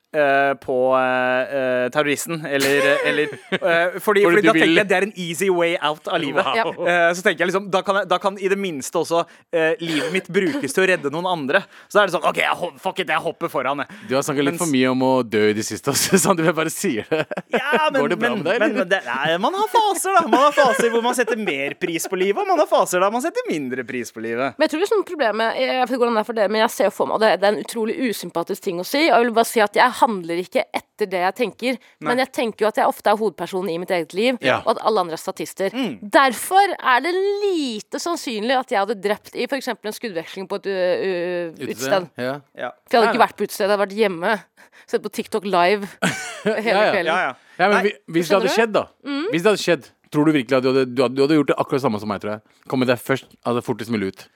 eh, på eh, eh, terroristen, eller, eller eh,
<laughs>
fordi, fordi,
Fordi du
da tenker
vil.
jeg det er en easy way out av livet.
Ja.
Eh, så tenker jeg liksom Da kan, jeg, da kan i det minste også eh, livet mitt brukes til å redde noen andre. Så da er det sånn OK, jeg, hop- fuck it, jeg hopper foran, jeg.
Du har snakket litt
Mens-
for mye om å dø i det siste. også, <laughs> Sander, jeg bare sier det. <laughs>
Ja, men,
Går det bra
men,
med deg, eller?
men det, nei, man har faser, da. Man har faser hvor man setter mer pris på livet, og man har faser der man setter mindre pris på livet.
Men jeg tror liksom problemet Jeg vet ikke hvordan det er for dere, men jeg ser jo for meg og det, det er en utrolig usympatisk ting å si. Og jeg vil bare si at jeg handler ikke etter det jeg tenker, men jeg tenker jo at jeg ofte er hovedpersonen i mitt eget liv,
Ja. Mm.
og at alle andre er statister. Derfor er det lite sannsynlig at jeg hadde drept i f.eks. en skuddveksling på et ø, ø, utested.
Ja.
Ja,
For jeg hadde ikke vært på utestedet, jeg hadde vært hjemme. Sett på TikTok
<laughs>
live hele
ja.
kvelden.
ja, ja.
ja, men
Nei,
vi- Hvis det
skjønner
hadde skjedd, da. Hvis det hadde skjedd, tror du virkelig at du hadde, du hadde, du hadde gjort det akkurat samme som meg, tror jeg. Kommet deg først, altså fortest mulig ut.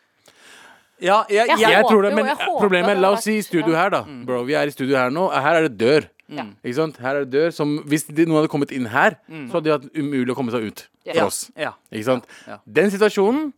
Ja, jeg,
Jeg
jeg,
Jeg
håper
tror det,
jo,
men
jeg håper
problemet
det
er, la
hadde
oss si
vært- Mm.
studio her, da. Bro, vi er i studio her nå. Her er det dør.
Ja.
Ikke sant? Her er det dør som Hvis de, noen hadde kommet inn her, så hadde de hatt umulig å komme seg ut. For
Mm. Ja.
oss.
ja.
Ikke sant?
Ja.
Den situasjonen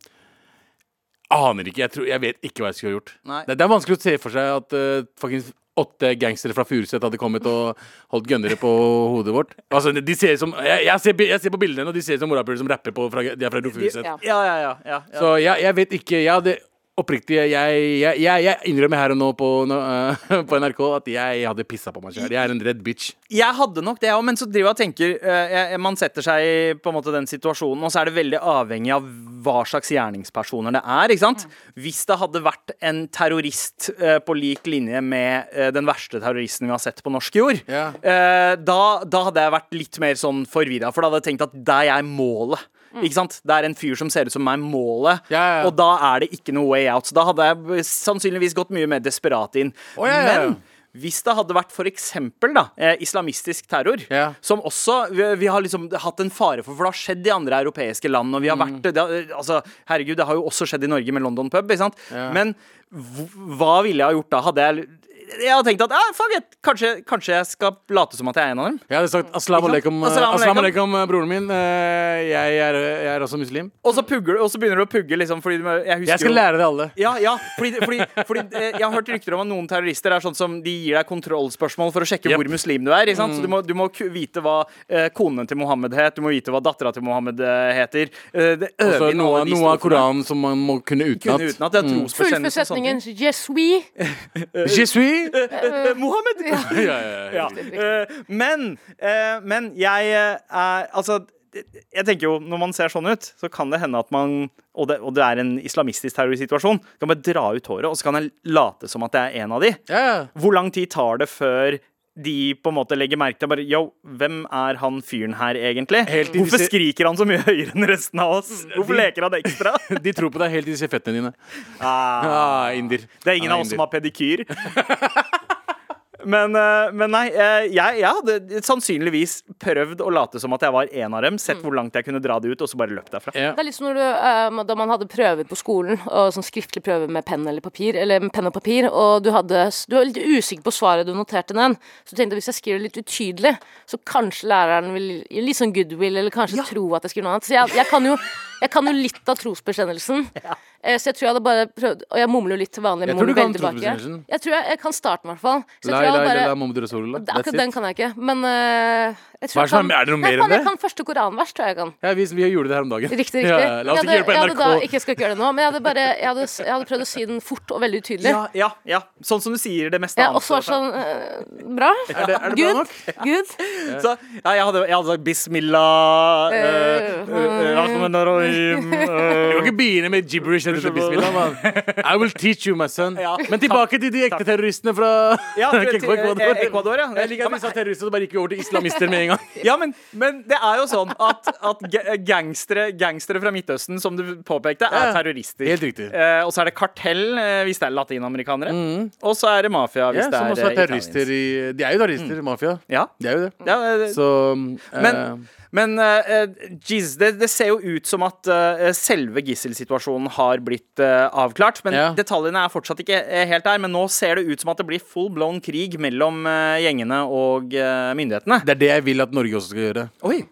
aner ikke. Jeg, tror, jeg vet ikke hva jeg skulle gjort.
Nei.
Det, det er vanskelig å se for seg at eh, fucking åtte gangstere fra Furuset hadde kommet og holdt gønnere på hodet vårt. Altså, de ser ut som, jeg, jeg, ser, bi- jeg ser på bildene, og de ser ut som morapuler som rapper på fra, De er fra Furuset.
Ja.
Ja, ja, ja, ja, ja.
Så jeg, jeg vet ikke. Jeg hadde oppriktig jeg, jeg, jeg, jeg innrømmer her og nå på, nå, eh, <laughs> på NRK at jeg hadde pissa på meg sjøl. Jeg er en redd bitch.
Jeg hadde nok det òg, men så driver jeg og tenker eh, jeg, Man setter seg i på en måte den situasjonen, og så er det veldig avhengig av hva slags gjerningspersoner det er. ikke sant? Hvis det hadde vært en terrorist eh, på lik linje med eh, den verste terroristen vi har sett på norsk jord,
Ja.
eh, da, da hadde jeg vært litt mer sånn forvirra, for da hadde jeg tenkt at det er jeg målet. Ikke sant? Det er en fyr som ser ut som meg, målet,
Mm. Ja, ja, ja.
og da er det ikke noe way out. Så da hadde jeg eh, sannsynligvis gått mye mer desperat inn.
Å, ja, ja, ja.
Men hvis det hadde vært for eksempel da, eh, islamistisk terror,
Ja.
som også vi, vi har liksom hatt en fare for, for det har skjedd i andre europeiske land, og vi har
Mm.
vært det, har- altså, Herregud, det har jo også skjedd i Norge med London pub, ikke sant? Men hv- hva ville jeg ha gjort da? Hadde jeg Jeg hadde tenkt at ah, fuck it, kanskje, kanskje jeg skal late som at jeg er en av dem?
Jeg hadde sagt aslam
Ikke
alaikum,
sant?
eh,
Assalamu
assalamu
alaikum.
alaikum, eh, broren min. Eh, Jeg er, jeg er også muslim.
Og så, pugger, og så begynner du å pugge, liksom, fordi du- jeg husker
Mm. Jeg skal
jo-
lære det alle.
Ja, ja, fordi, fordi, fordi eh, jeg har hørt rykter om at noen terrorister er sånn som de gir deg kontrollspørsmål for å sjekke
Jep.
hvor muslim du er. Ikke sant? Så du
Mm.
må, du må ku- vite hva eh, konen til Mohammed het, du må vite hva dattera til Mohammed eh, heter. Eh, det
Og så
øver inn
noe,
alle de
noe av
strofene.
Koranen Mm. som man må kunne
Kunne
utenat.
uten at det er
Fullfør
trosbekjennelse. og sånne ting.
setningen 'Yes, we'.
Je <laughs> suis
Eh,
<laughs>
Mohammed!
ja, ja, ja.
Ja. eh, men, eh, men jeg eh, er Altså, jeg tenker jo når man ser sånn ut, så kan det hende at man Og det, og det er en islamistisk terrorsituasjon. Kan bare dra ut håret, og så kan jeg late som at jeg er en av de.
Ja, ja.
Hvor lang tid tar det før de på en måte legger merke til bare, Yo, hvem er han fyren her egentlig?
Helt til de
Hvorfor
ser-
skriker han så mye høyere enn resten av oss? Hvorfor leker han ekstra?
<laughs> De tror på deg helt til de ser føttene dine.
Ah,
Ah, inder.
det er ingen
Han
av oss som
inder.
har pedikyr. Men, eh, men nei, eh, jeg, jeg hadde sannsynligvis prøvd å late som at jeg var en av dem. Sett hvor langt jeg kunne dra det ut, og så bare løpt derfra.
ja.
Det er litt som når du, eh, da man hadde prøver på skolen, og sånn skriftlig prøve med penn eller papir, eller med penn og papir, og du, hadde, du var litt usikker på svaret du noterte ned, så du tenkte hvis jeg skriver det litt utydelig, så kanskje læreren vil gi litt sånn goodwill, eller kanskje tro at jeg skriver noe annet. Så jeg, jeg, kan, jo, jeg kan jo litt av trosbekjennelsen. Eh, Så jeg tror jeg hadde bare prøvd Og jeg mumler jo litt til vanlig.
Jeg tror du
mumler
kan
veldig tilbake.
trosbestemmelsen.
Jeg tror jeg, jeg kan starte, i hvert fall. Så jeg
La,
tror jeg
la,
hadde
la,
bare
la, Mohammed Rasulullah.
Det- Akkurat
That's
den
it.
kan jeg ikke, men eh, jeg tror
Hva er det som
jeg
er- er det noe
Nei,
mer enn
faen, Jeg
det?
kan første koranvers, tror jeg jeg kan.
Ja, vi, vi gjorde det her om dagen.
Riktig, riktig.
Ja, la oss
jeg
ikke gjøre
hadde,
det
jeg hadde
på
da,
NRK.
ikke skal ikke gjøre det nå, men jeg hadde, bare, jeg, hadde, s- jeg hadde prøvd å si den fort og veldig utydelig.
Ja, ja, ja. Sånn som du sier det meste
Jeg har
annet.
også vært sånn eh, Bra?
Er det, er det bra
<laughs> Good?
nok?
Good?
Så, ja, jeg, hadde, jeg hadde sagt bismillah eh,
Eh,
eh, <laughs> Rahmanarrahim, eh.
Du kan ikke begynne med gibberish. etter bismillah, mann. <laughs> I will teach you, my son.
Ja.
Men tilbake til de ekte terroristene fra <laughs>
Ja, til- til-
Ecuador.
eh, Ecuador, ja.
Jeg liker at vi sa terrorister og bare gikk over til islamister med en gang.
Ja, men, men det er jo sånn at, at ga- gangstere, gangstere fra Midtøsten, som du påpekte, er
Ja,
terrorister.
helt riktig. Mm.
Eh, og så er det kartell eh, hvis det er latinamerikanere. Og så er det mafia hvis
Ja,
det
som
er,
også er Mm.
eh,
terrorister
italiensk.
i De er jo terrorister, mafia.
Ja.
De er jo det.
Ja, eh,
Så
Men,
eh,
men eh, eh, jeez, det, det ser jo ut som at eh, selve gisselsituasjonen har blitt eh, avklart. Men
Ja.
detaljene er fortsatt ikke eh, helt der. Men nå ser det ut som at det blir full blown krig mellom eh, gjengene og eh, myndighetene.
det er det jeg vil at Norge også skal gjøre.
Oi.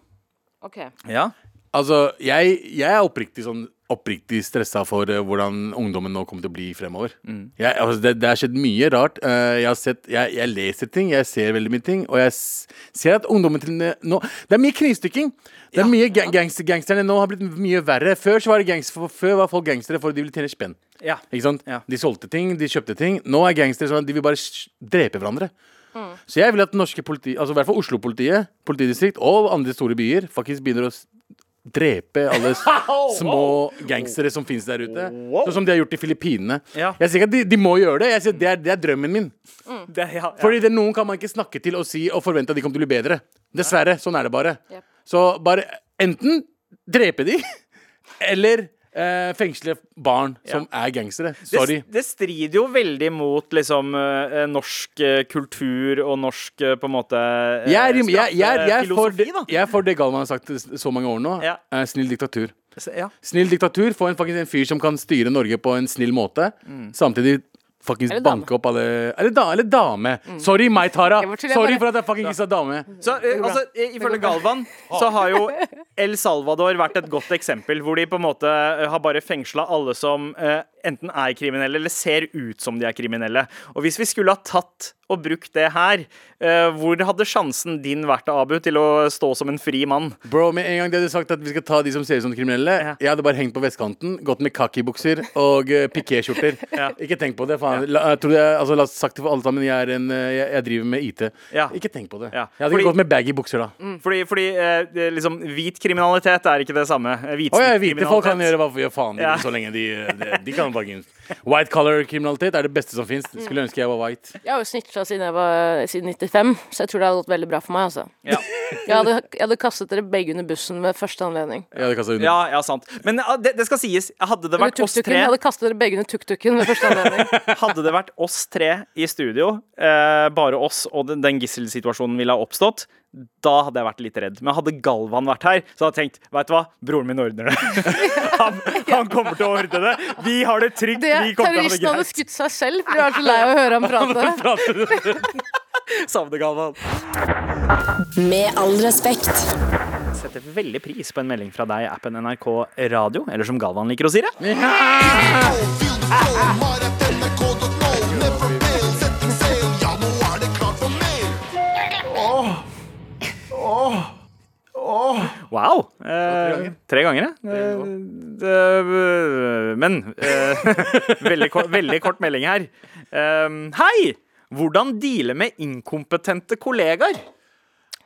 Ok.
Ja.
Altså, jeg, jeg er oppriktig sånn Oppriktig stressa for eh, hvordan ungdommen nå kommer til å bli fremover. Jeg, altså, det, det har skjedd mye rart. Eh, jeg, har sett, jeg, jeg leser ting, jeg ser veldig mye ting, og jeg s- ser at ungdommen til nå Det er mye knivstikking. Det er mye gang, gangster, Gangsterne nå har blitt mye verre. Før, så var, det gangster, for, før var folk gangstere for de ville tjene spenn.
Ja.
Ikke sant?
Ja.
De solgte ting, de kjøpte ting. Nå er gangstere sånn at de vil bare sj- drepe hverandre. Så jeg vil at norske politi, altså i hvert fall Oslo-politiet, politidistrikt og andre store byer faktisk begynner å s- drepe alle
<laughs>
s- små gangstere som finnes der ute. Sånn som de har gjort i Filippinene.
Ja.
Jeg sier ikke at de, de må gjøre det. Jeg sier at det, er, det er drømmen min.
Det, ja, ja.
Fordi det, noen kan man ikke snakke til og si og forvente at de kommer til å bli bedre. Dessverre. Sånn er det bare.
Yep.
Så bare enten drepe de, <laughs> eller eh, fengsle barn som er gangstere. Sorry.
Det, det strider jo veldig mot liksom, eh, norsk eh, kultur og norsk eh, på en måte eh,
Jeg er, jeg, jeg, jeg, jeg, er for,
straffelosofi,
det- jeg er for det Galvan har sagt i s- så mange år nå.
Ja.
Eh, snill diktatur.
da. Ja.
Snill diktatur. Få en, faktisk, en fyr som kan styre Norge på en snill måte.
Mm.
Samtidig fuckings
Eller dame. Mm.
banke opp alle Eller, da, eller dame. Sorry, meg, Tara.
Jeg bare tuller, jeg
Sorry
bare-
for at jeg fucking ikke sa dame.
Så, eh, altså, eh, ifølge
<laughs>
Galvan så har jo El Salvador vært et godt eksempel, hvor de på en måte eh, har bare fengsla alle som eh, enten er kriminelle eller ser ut som de er kriminelle. Og hvis vi skulle ha tatt og brukt det her, eh, hvor hadde sjansen din vært, Abu, til å stå som en fri mann?
Bro, med en gang de hadde sagt at vi skal ta de som ser ut som kriminelle,
Ja.
jeg hadde bare hengt på vestkanten, gått med kakibukser og uh, pikéskjorter. Ikke tenk på det, faen. La, jeg tror jeg, altså, la oss sagt det for alle sammen, jeg, er en, eh, jeg, jeg driver med IT.
Ja.
Ikke tenk på det.
Ja.
Jeg hadde
Fordi-
gått med baggy bukser da.
Fordi, fordi eh, det- liksom, hvit kriminalitet er ikke det samme. Eh,
Å ja, hvite folk kan
hvitsnitt-kriminalitet.
gjøre hva gjør faen de
Ja.
vil, så lenge de, de, de kan fucking White color kriminalitet er det beste som fins. Skulle ønske jeg var white.
Jeg har jo snitcha siden jeg var siden 95, så jeg tror det hadde gått veldig bra for meg, altså.
Ja.
Jeg hadde, jeg hadde kastet dere begge under bussen ved første anledning.
Jeg hadde kastet under.
Ja, ja, sant. Men eh, det, det skal sies, hadde det
Under
vært oss
tuk-tuken.
tre
Jeg hadde kastet dere begge under tuk-tuken ved første
<laughs>
anledning.
<laughs> Hadde det vært oss tre i studio, eh, bare oss, og den, den gisselsituasjonen ville ha oppstått, da hadde jeg vært litt redd. Men hadde Galvan vært her, så hadde jeg tenkt Vet du hva, broren min ordner det. <laughs> Han, han kommer til å ordne det. Vi har det trygt.
Det,
Vi kommer til å ha
terroristen
det
hadde
greit.
skutt seg selv, for de var så lei av å høre ham
<laughs>
prate.
Savner Galvan.
Med all respekt.
Setter veldig pris på en melding fra deg i appen NRK Radio, eller som Galvan liker å si det.
Feel the flow, maratnrk.no. Never fail, setting sail. Ja, nå er det klart for mer.
Wow. Eh, tre ganger, ja. Eh, det- men eh, <laughs> veldig, kort, veldig kort melding her. Um, hei! Hvordan deale med inkompetente kollegaer?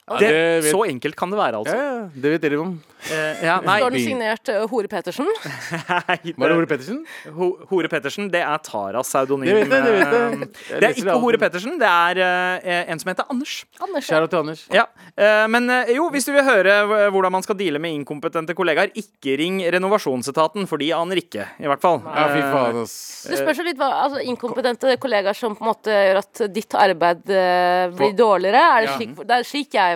Det,
det vet-
så enkelt kan det være, altså.
Ja, ja, det vet dere om.
Eh, ja, nei,
Står den signert eh, Hore Petersen?
nei, det-
Var det Ole Pettersen?
eh, Ho- Hore Pettersen, det er Taras pseudonym.
Det vet jeg, det vet jeg.
Eh,
Jeg
Det er
leser
ikke Hore
alltid.
Pettersen, det er eh, en som heter Anders.
Anders.
Kjære til Anders.
Ja, eh, Men eh, jo, hvis du vil høre eh, hvordan man skal deale med inkompetente kollegaer, ikke ring renovasjonsetaten, for de aner ikke, i hvert fall. Eh,
Ja, fy faen, ass.
Det spørs jo litt hva altså, Inkompetente kollegaer som på en måte gjør at ditt arbeid eh, blir dårligere. Er det,
Ja.
slik, det er slik jeg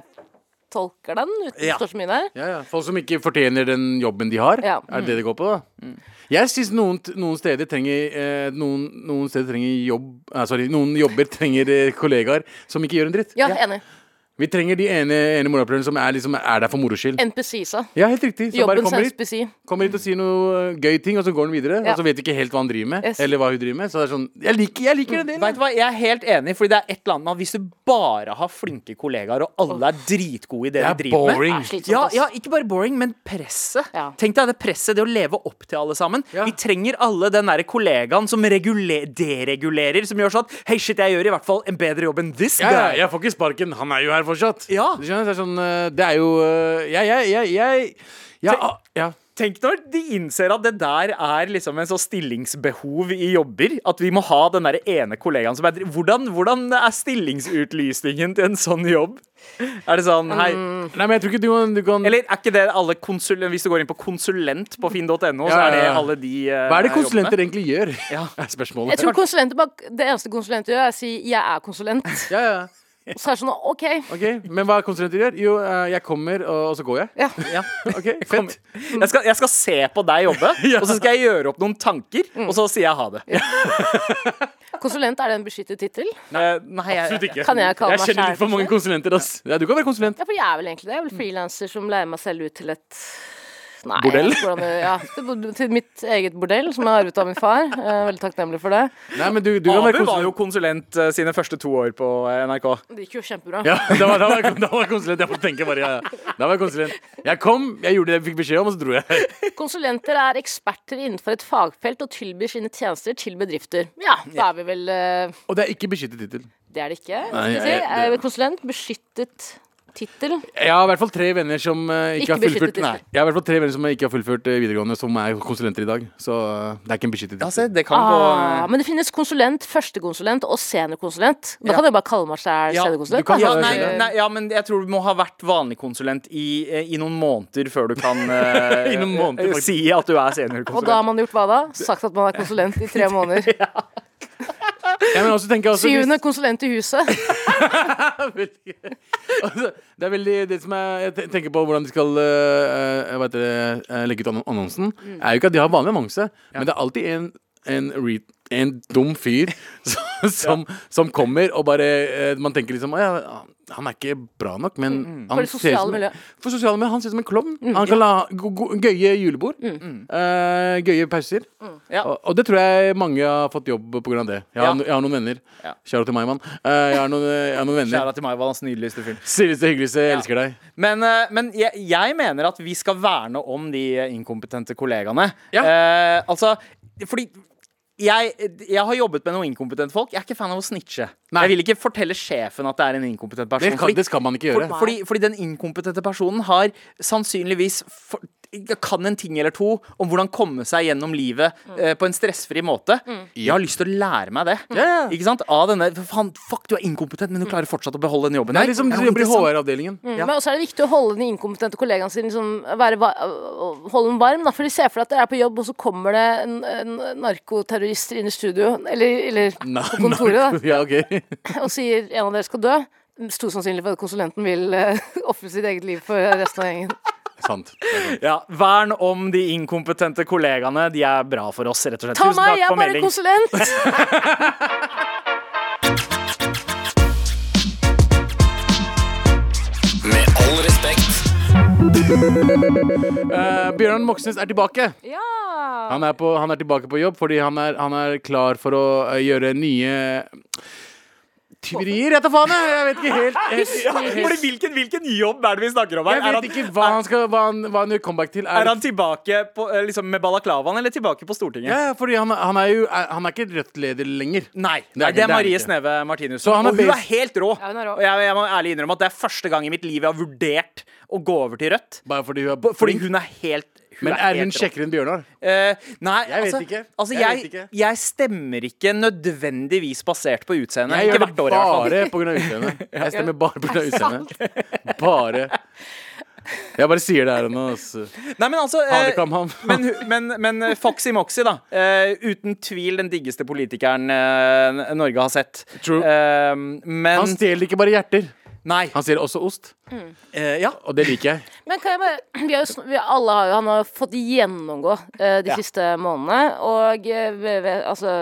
tolker den, uten at det
Ja.
står så mye der.
Ja, ja. Folk som ikke fortjener den jobben de har.
Ja. Mm.
Er det det det går på, da? Jeg syns noen, t- noen steder trenger eh, noen, noen steder trenger jobb eh, Sorry, noen jobber trenger eh, kollegaer som ikke gjør en dritt.
Ja, enig.
Vi trenger de ene, ene morapulerne som er, liksom, er der for moro skyld.
NPC-sa.
Ja, helt riktig. Som bare
Jobbens
kommer hit,
NPC.
kommer hit og sier noe eh, gøy ting, og så går han videre.
Ja.
Og så vet vi ikke helt hva han driver med.
Yes.
Eller hva hun driver med. Så det er sånn Jeg liker, jeg liker
Mm.
den
Vet du
delen.
hva, Jeg er helt enig, fordi det er et eller annet med at hvis du bare har flinke kollegaer, og alle er dritgode i det, de
Det er
driver med Ah,
boring.
Er slitsomt,
ja,
ass.
ja, ikke bare boring, men presset.
Ja.
Tenk deg det presset, det å leve opp til alle sammen.
Ja.
Vi trenger alle den derre kollegaen som reguler, deregulerer, som gjør sånn at Hei, shit, jeg gjør i hvert fall en bedre jobb enn this
Ja,
guy.
ja, jeg får ikke sparken. Han er jo her fortsatt.
Ja.
Du skjønner, det er sånn eh, Det er jo eh, Jeg, jeg, jeg, jeg ja,
Tenk-
ah, ja.
Tenk når de innser at det der er liksom en sånn stillingsbehov i jobber. At vi må ha den der ene kollegaen som er dri- Hvordan, hvordan er stillingsutlysningen til en sånn jobb? Er det sånn hei
Nei, men jeg tror ikke du kan, du kan
Eller er ikke det alle konsulent Hvis du går inn på konsulent på finn.no, så
Ja,
er det
ja, ja.
alle de eh,
Hva er det
jobbene?
konsulenter egentlig gjør? <laughs>
Ja.
er spørsmålet.
Jeg tror konsulenter bare Det eneste konsulenter gjør, er å si 'jeg er konsulent'.
Ja, ja.
Og så er det sånn OK.
Ok, Men hva konsulenter gjør? Jo, eh, jeg kommer, og, og så går jeg.
Ja.
Ja.
<laughs> Ok,
Kom.
Fett.
Jeg, skal, jeg skal se på deg jobbe,
<laughs>
og så skal jeg gjøre opp noen tanker,
Mm.
og så sier jeg ha det.
Konsulent, er det en beskyttet tittel?
Nei, nei, Eh, jeg-
Absolutt ikke.
Kan jeg kalle
Jeg
meg
kjenner
sjæl
litt for mange konsulenter, ass. Ja, du kan være konsulent.
Ja, for jeg er vel egentlig det. Jeg er vel frilanser som leier meg selv ut til et Nei,
Bordell?
jeg vet ikke hvordan det- Ja, til bod- til mitt eget bordell, som jeg har arvet av min far. Jeg er veldig takknemlig for det.
Nei, men du, du kan være
Abu var jo
konsulent.
konsulent eh, sine første to år på eh, NRK.
Det gikk jo kjempebra.
Ja, da var, da, var, jeg- da var jeg konsulent. Jeg får tenke bare, ja, ja. Da var jeg konsulent. Jeg kom, jeg gjorde det jeg fikk beskjed om, og så dro jeg.
Konsulenter er eksperter innenfor et fagfelt og tilbyr sine tjenester til bedrifter. Ja, da er vi vel eh,
Og det er ikke beskyttet tittel.
Det er det ikke. Skal
Nei,
vi si.
jeg-
Er vi konsulent beskyttet tittel?
Jeg har i hvert fall tre venner som eh, ikke,
Ikke
har fullført
beskyttet
Nei, jeg har i hvert fall tre venner som ikke har fullført eh, videregående, som er konsulenter i dag. Så eh, det er ikke en beskyttet
Ja,
tittel.
se, det kan
Ah,
gå eh,
men det finnes konsulent, førstekonsulent og seniorkonsulent. Da kan jeg bare kalle meg selv
Ja,
seniorkonsulent.
du
da.
kan
Eh,
ja,
det
nei,
skjønner
nei, ja, men jeg tror du må ha vært vanlig konsulent i, eh, i noen måneder før du <laughs> kan eh,
I noen måneder,
eh,
faktisk.
si at du er
Og da
seniorkonsulent.
har man gjort hva da? Sagt at man er konsulent i tre måneder.
Ja, men også tenker jeg også, hvis-
Syvende konsulent i huset.
<laughs> altså, det er veldig det som er, Jeg te- tenker på hvordan de skal eh, eh, hva heter det, eh, legge ut annon- annonsen.
Mm.
Er jo ikke at de har vanlig annonse, men det er alltid en en, re en dum fyr <laughs> som, som, som kommer og bare eh, Man tenker liksom «Å ja, Han er ikke bra nok, men
Mm,
han
For det
ser ut som-
sosiale miljøet. Mm,
For sosiale miljø, Han ser ut som en klovn. Han kan la go go gøye julebord. eh, gøye pauser.
Mm,
Ja.
Og, og det tror jeg mange har fått jobb pga. det. Jeg har,
Ja.
no- jeg har noen venner.
Ja.
Kjære til meg, mann. Eh, jeg, har noen, jeg har noen venner.
Kjære til meg, var hans nydeligste fyren.
Silveste, hyggeligste, jeg elsker deg.
Men, eh, men jeg, jeg mener at vi skal verne om de inkompetente kollegaene.
Ja.
Eh, altså, fordi jeg, jeg har jobbet med noen inkompetente folk. Jeg er ikke fan av å snitche.
Nei.
Jeg vil ikke fortelle sjefen at det er en inkompetent person.
Det, kan,
fordi-
det skal man ikke gjøre.
for, fordi, fordi den inkompetente personen har sannsynligvis for, kan en ting eller to om hvordan komme seg gjennom livet
Mm.
eh, på en stressfri måte. Jeg har lyst til å lære meg det.
Ja, ja.
Ikke sant? Av denne, faen, fuck, du er inkompetent, men du klarer fortsatt å beholde den jobben.
det
her.
er liksom
Det er
du
noe
jobber i
interessant. Mm.
HR-avdelingen.
Ja.
Mm. Men også er det viktig å holde de inkompetente kollegaene sine liksom, være, va- å- å- holde dem varm. Da. For de ser for deg at dere er på jobb, og så kommer det en, en narkoterrorister inn i studio eller, eller
Nei,
på kontoret da,
Ja,
<laughs>
ok.
og sier en av dere skal dø. Stor sannsynlig for at konsulenten vil eh, <laughs> ofre sitt eget liv for resten av gjengen.
Sant.
Ja, Vern om de inkompetente kollegaene. De er bra for oss, rett og slett.
Ta
Tusen
meg,
takk
jeg er
for
bare
melding.
konsulent!
<laughs>
Med all respekt.
Eh, Bjørnar Moxnes er tilbake.
Ja.
Han er, på, han er tilbake på jobb fordi han er, han er klar for å eh, gjøre nye tyverier. Jeg tar faen, jeg! Jeg vet ikke helt.
<laughs> Ja,
helt,
fordi hvilken, hvilken jobb er det vi snakker om her?
jeg
Er
vet
han,
ikke hva han, skal, hva han, hva han gjør comeback til.
er
Er,
han tilbake på, eh, liksom med balaklavaen, eller tilbake på Stortinget?
ja, ja, fordi han, han er jo er, Han er ikke Rødt-leder lenger.
Nei,
er
det er,
ikke-
det er Marie
ikke.
Sneve Martinus.
Så han er
Og hun er
bas-
helt rå.
hun er rå.
Og jeg, jeg må ærlig innrømme at det er første gang i mitt liv jeg har vurdert å gå over til Rødt.
Bare fordi hun er
B- Fordi hun er helt hun
Men er hun
helt rå.
kjekkere enn Bjørnar?
Eh, nei,
Jeg vet
altså,
ikke.
Altså,
Jeg
jeg,
vet ikke.
jeg stemmer ikke nødvendigvis basert på utseendet.
Jeg
Ikke
gjør det
hvert år, i hvert fall.
bare pga.
<laughs>
utseendet. Jeg stemmer bare pga. utseendet. Bare. Jeg bare sier det her og nå. ass.
Nei, men altså eh,
Hanekam ham.
men, hu- men, men eh, Foxy Moxy, da. Eh, uten tvil den diggeste politikeren eh, N- Norge har sett.
True.
Eh, men
Han stjeler ikke bare hjerter.
Nei.
Han sier også ost,
Eh, ja.
og det liker jeg.
Men kan jeg bare vi har jo, sn- vi alle har jo, Han har jo fått gjennomgå eh, de
Ja.
siste månedene, og eh, vi- vi- altså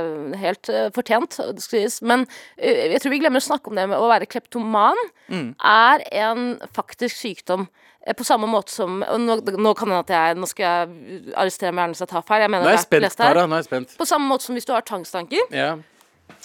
Helt eh, fortjent, det skal sies. Men eh, jeg tror vi glemmer å snakke om det med å være kleptoman
Mm.
er en faktisk sykdom. eh, På samme måte som og nå, nå kan det hende at jeg Nå skal jeg arrestere meg gjerne hvis jeg tar feil. Jeg mener
Nå er
jeg
jeg spent,
leste her.
Tara. Nå er jeg spent.
På samme måte som hvis du har tvangstanker.
Ja.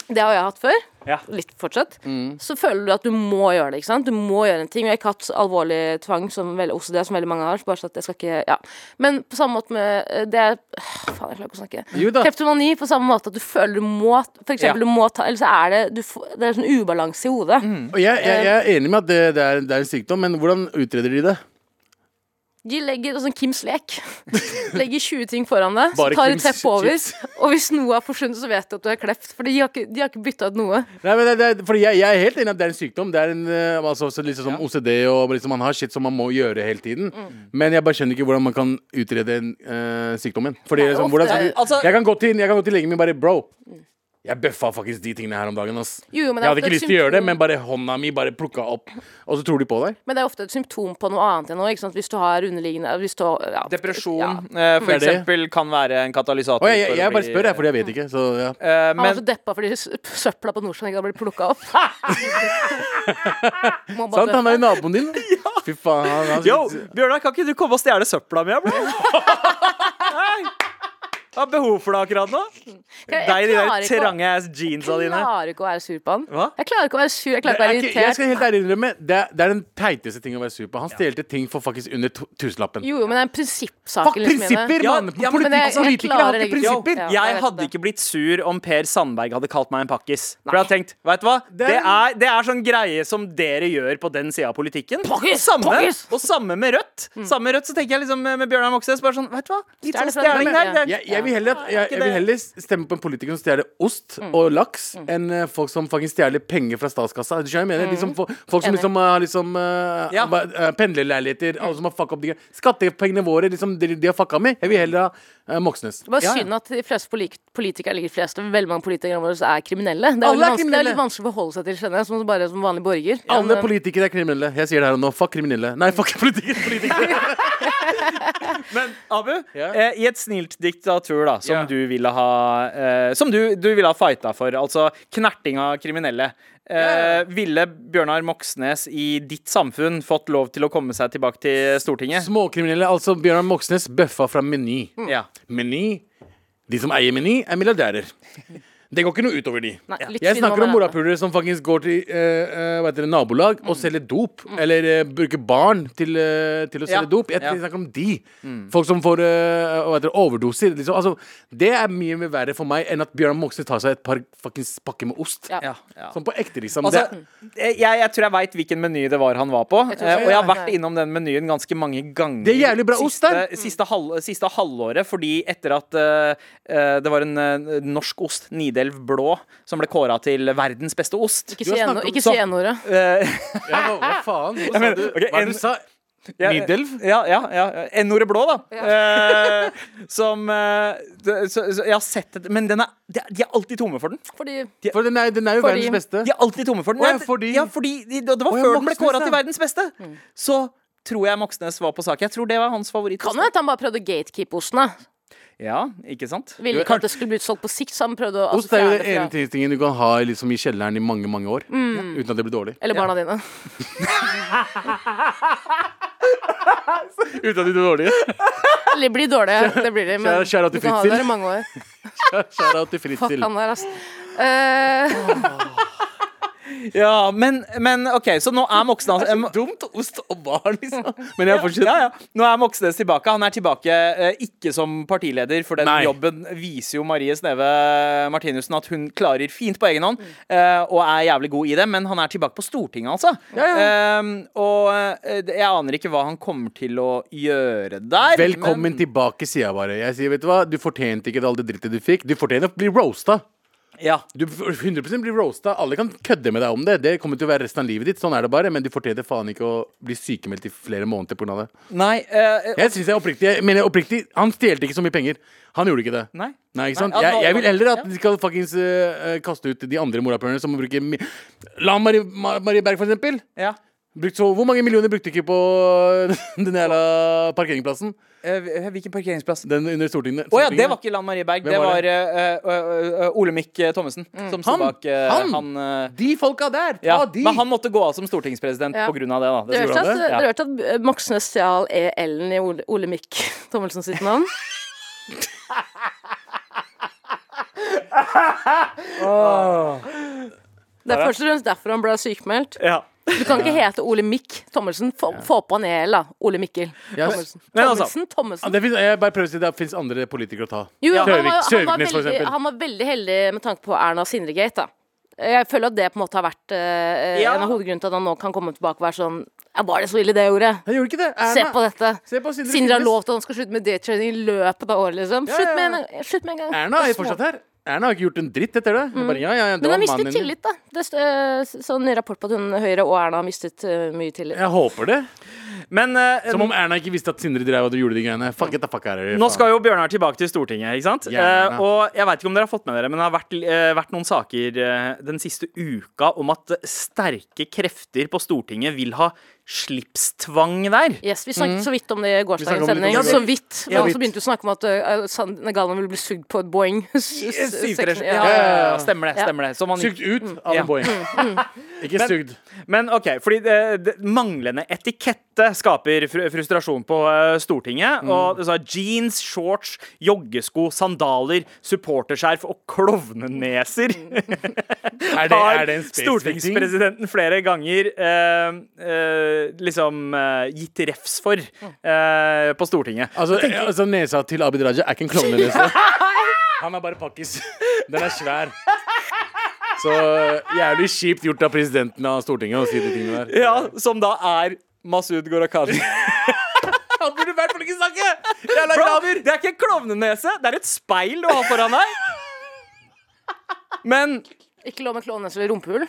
Det har jeg hatt før.
Ja.
Litt fortsatt. Så føler du at du må gjøre det. ikke sant? Du må gjøre en ting. Jeg har ikke hatt alvorlig tvang som veldig, OCD, som veldig mange har. så Bare så at jeg skal ikke, ja. Men på samme måte med eh, det er- øh, Faen, jeg klarer ikke å snakke.
Jo da.
Kleptomani på samme måte at du føler du må For eksempel,
Ja.
du må ta Eller så er det du, får- Det er sånn ubalanse i hodet.
Og jeg, jeg, jeg er enig med at det, det, er, det er en sykdom, men hvordan utreder de det?
De legger sånn Kims lek. <laughs> Legger 20 ting foran deg, så
Bare
tar de
Kims
tepp over.
chips.
Og hvis noe har forsvunnet, så vet du at du er kleft. For de har ikke, de har ikke bytta ut noe.
Nei, men det, det, er- fordi jeg, jeg er helt enig i at det er en sykdom. Det er en, eh, altså, så liksom som OCD og liksom, man har shit som man må gjøre hele tiden.
Mm.
Men jeg bare skjønner ikke hvordan man kan utrede en, eh, sykdommen. Fordi liksom, hvordan skal du,
altså-
jeg, kan gå til, jeg kan gå til legen min og bare Bro, jeg bøffa faktisk de tingene her om dagen. Ass.
Mm. Jo, jo, men det er
jeg hadde
ofte
ikke
et
lyst til å gjøre det,
symptom.
men bare hånda mi bare plukka opp. Og så tror de på deg.
Men det er ofte et symptom på noe annet enn noe. Ikke sant? Hvis du har underliggende hvis du, har- ja,
Depresjon
Ja.
eh, for
Det er det.
eksempel kan være en katalysator.
Og jeg, jeg,
for å
jeg bare
bli-
spør, jeg,
Mm.
fordi jeg vet ikke. Så ja.
Eh,
Han var
men
så deppa fordi s- søpla på Nordstrand ikke hadde blitt plukka
<laughs>
opp. Må bare
Sant, han er jo naboen
<laughs>
din. da. Fy faen. Han, han,
Yo, Bjørnar, kan ikke du komme og stjele søpla mi, bro? Nei. Jeg har behov for det akkurat nå.
Jeg- jeg
Deg i de
klarer
der
ikke å-
trange ass jeansa
Jeg
dine.
klarer ikke å være sur på han.
Hva?
Jeg klarer ikke å være sur, jeg klarer ikke å
Det er
være
ikke, jeg skal
irritert.
helt ærlig innrømme, det er, det er den teiteste ting å være sur på. Han stjelte ting for faktisk under to- tusenlappen.
Jo, jo, men det er en prinsippsak. liksom
Fuck prinsipper,
Ja, ja, men
mann! Politikk-
det- jeg
Politikere
klarer
har ikke
det ikke.
prinsipper!
Ja, jeg
jeg
vet
hadde
det.
ikke blitt sur om Per Sandberg hadde kalt meg en pakkis. For jeg hadde tenkt, vet du hva? Det
er-
er, det er sånn greie som dere gjør på den sida av politikken.
Pakkis,
samme,
pakkis. Mm.
Og samme med Rødt. Samme med Rødt så tenker jeg liksom med med Bjørnar Moxnes bare sånn, vet du hva? Litt
Stjerne
sånn
fra
stjeling
Bergen,
der. det er-
Jeg, jeg, vil heller, at- jeg,
ikke
jeg vil
det.
heller stemme på en politiker som stjeler ost
Mm.
og laks, enn eh, folk som faktisk stjeler penger fra statskassa. Du skjønner hva jeg mener? Liksom, fo- folk
Mm.
som
Enig.
liksom har liksom, eh,
Ja.
ba- eh, pendlerleiligheter, alle som har fucka opp de Skattepengene våre, liksom, de, de har fucka med. Jeg vil heller ha eh, Moxnes.
Det var
Ja, ja.
synd at de fleste polit- politikere eller ikke fleste, veldig mange politikere våre er kriminelle. Det er,
Alle
veldig vanskelig-
er
det er
kriminelle.
litt vanskelig å forholde seg til, skjønner jeg, som bare som vanlig borger.
Alle
Men, eh,
politikere er kriminelle. Jeg sier det her og nå. Fuck kriminelle. Nei, fuck <laughs> politikere. politikere.
Men Abu,
Ja.
eh, i et snilt diktatur da, som
Ja.
du ville ha eh, Som du, du ville ha fighta for, altså knerting av kriminelle. Eh, Ville Bjørnar Moxnes i ditt samfunn fått lov til å komme seg tilbake til Stortinget?
Småkriminelle, altså Bjørnar Moxnes, bøffa fra Meny.
Ja.
Meny De som eier Meny, er milliardærer. Det går ikke noe utover de.
Nei, litt synd
jeg
om
snakker om
hverandre.
morapulere som faktisk går til eh, eh, hva heter det, nabolag
Mm.
og selger dop. Eller eh, bruker barn til, eh, til å
Ja.
selge dop. Jeg
Ja. Mm.
snakker om de. Folk som får eh, hva heter det, overdoser. Liksom. Altså, det er mye mer verre for meg enn at Bjørnar Moxnes tar seg et par fuckings pakker med ost.
Ja.
Ja, ja.
Sånn på ekte, liksom.
Altså,
det,
jeg, jeg tror jeg veit hvilken meny det var han var på.
tror
eh,
så,
Og jeg har
ja.
vært innom den menyen ganske mange ganger.
Det er jævlig bra ost
siste,
der.
Siste, halv, siste halvåret, fordi etter at eh, eh, det var en eh, norsk ost, Nidelv Blå, som ble kåra til verdens beste ost.
Ikke
har
si
snakket
eno-
om
ikke
sånn-
si n-ordet.
Eh,
ja, hva, hva faen? Hva sa
men,
du?
ok,
Hva er
en-
det du sa?
Ja,
Nidelv?
Ja, ja, ja. N-ordet blå, da. Eh, som eh, det- så, så, Jeg har sett det, men den er, de, er- de er alltid tomme for den.
Fordi
For den er, den er jo
Fordi-
verdens beste.
De er alltid tomme for den.
Å, ja,
Nei, det-
fordi-
ja, fordi de, det var
Å, ja,
før den ble
Moxnes,
kåra til
ja. Mm.
verdens beste. Så tror jeg Moxnes var på sak. Jeg tror det var hans favoritt.
Kan jo hende han bare prøvde å gatekeepe osten. da.
Ja, ikke sant?
Ville ikke at det skulle bli utsolgt på sikt, så han prøvde å altså,
Ost er jo
fjerne
den
fra-
ene ting- tingen du kan ha i liksom, i kjelleren i mange mange år. Uten at det blir dårlig.
Eller barna dine. <laughs>
<laughs> Uten at det blir dårlig
Eller blir dårlige, det blir de. Men
Kjære- kjære
du
til
kan ha det
Fritzel.
der i mange år.
<laughs> Shout out til
Fuck
Fritzel.
han der, ass. Eh,
Ja, men, men OK, så nå er Moxnes eh, Mo-
Dumt ost og barn, <laughs> liksom. Men jeg fortsetter.
ja, ja. Nå er Moxnes tilbake. Han er tilbake eh, ikke som partileder, for den
Nei.
jobben viser jo Marie Sneve Martinussen at hun klarer fint på egen hånd, eh, og er jævlig god i det, men han er tilbake på Stortinget, altså. Eh, og eh, det- jeg aner ikke hva han kommer til å gjøre der.
Velkommen tilbake, sier jeg bare. Jeg sier, vet Du hva, du fortjente ikke all det drittet du fikk. Du fortjener å bli roasta.
Ja.
Du 100 blir roasta. Alle kan kødde med deg om det. Det kommer til å være resten av livet ditt. Sånn er det bare. Men du fortjener faen ikke å bli sykemeldt i flere måneder pga. det.
Nei, eh,
Jeg synes jeg oppriktig, jeg mener oppriktig Han stjelte ikke så mye penger. Han gjorde ikke det.
Nei.
Nei, ikke sant?
Nei,
Jeg,
han-
jeg vil heller at de skal fuckings eh, eh, kaste ut de andre morapulerne som bruker mi La Marie, Ma- Marie Berg, for eksempel.
ja.
Brukt så, hvor mange millioner brukte ikke på <laughs> den jævla parkeringsplassen?
Eh, Hvilken parkeringsplass?
Den under Stortinget.
Å ja, det var ikke Lan Marie Berg.
Hvem
Det
var Mm.
var eh, eh, eh, Olemic eh, Thommessen som sto
Han?
bak eh,
Han?
han eh,
De folka der! Ta
ja.
de!
Men han måtte gå av som stortingspresident
Ja.
på grunn av det. da Det
Dere
skulle han
hørte at,
det.
dere hørte at eh, Moxnes stjal E-L-en i Ole, Ole Mikk <laughs> Thommelsen sitt navn? Det er først og fremst derfor han ble sykemeldt.
Ja.
Du kan ikke hete Ole Mikk Thommelsen. Få, få på en E-L, da. Ole Mikkel
Ja,
Thommelsen.
men altså-
Thommelsen,
Ja,
Thommelsen.
det finnes, jeg bare prøver å si det fins andre politikere å ta.
Jo, han, var, han, var
Sørvik- Sørviknes, for
veldig,
eksempel.
han var veldig heldig med tanke på Erna Sindregate, da. Jeg føler at det på en måte har vært eh,
Ja.
en av hovedgrunnen til at han nå kan komme tilbake og være sånn ja, Var det så ille, det jeg gjorde?
Jeg gjorde ikke det. Erna.
Se på dette.
Se på Sindre
Sindre har
Finnes.
lovt at han skal slutte med daytrading i løpet av året, liksom.
Ja,
Slutt,
ja, ja.
Med en, slutt med en gang.
Erna er
Små-
fortsatt her. Erna har ikke gjort en dritt etter det. Jeg Bare, ja, ja, ja,
Mm. Men
det
hun
var
har mistet
mannen din.
tillit, da. Det st- eh, s- sånn ny rapport på at hun Høyre og Erna har mistet eh, mye tillit.
Jeg håper det.
Men eh,
Som om Erna ikke visste at Sindre drev og gjorde de greiene. Fuck it, da, fuck her,
Nå skal jo Bjørnar tilbake til Stortinget, ikke sant?
Gjerne.
Eh, og jeg vet ikke om dere har fått med dere, men det har vært, eh, vært noen saker eh, den siste uka om at sterke krefter på Stortinget vil ha slipstvang der.
Yes, Vi snakket så vidt om det i
Mm. snakket om
gårsdagens
det
sending.
i går.
så vidt.
Ja,
Men
vidt.
så begynte du å snakke om at uh, Galvan ville bli sugd på et Boeing. <laughs> Seksjon-
Syvtreff. Ja,
ja.
ja, ja, ja. Stemmer det.
Ja.
stemmer det Som han
Sugd ut av
Ja.
en Boeing. Ikke sugd.
Men ok, fordi det, det, manglende etikette skaper fr frustrasjon på eh, Stortinget. Og det sa jeans, shorts, joggesko, sandaler, supporterskjerf og <laughs> klovneneser.
Er det,
har
er det en spesifikk ting?
stortingspresidenten flere ganger eh, eh, liksom eh, gitt refs for eh, på Stortinget.
Altså, altså, nesa til Abid Raja er ikke en <laughs> klovnenese. Han er bare pakkis. <laughs> Den er svær. Så eh, jævlig kjipt gjort av presidenten av Stortinget å si de tingene der.
Ja, som da er Masud <laughs> Gharahkhani. Han burde vært politikersnakke! Bro, det er ikke en klovnenese, det er et speil du har foran <laughs> deg. Men,
Ikke lov med klovnes eller rumpehull.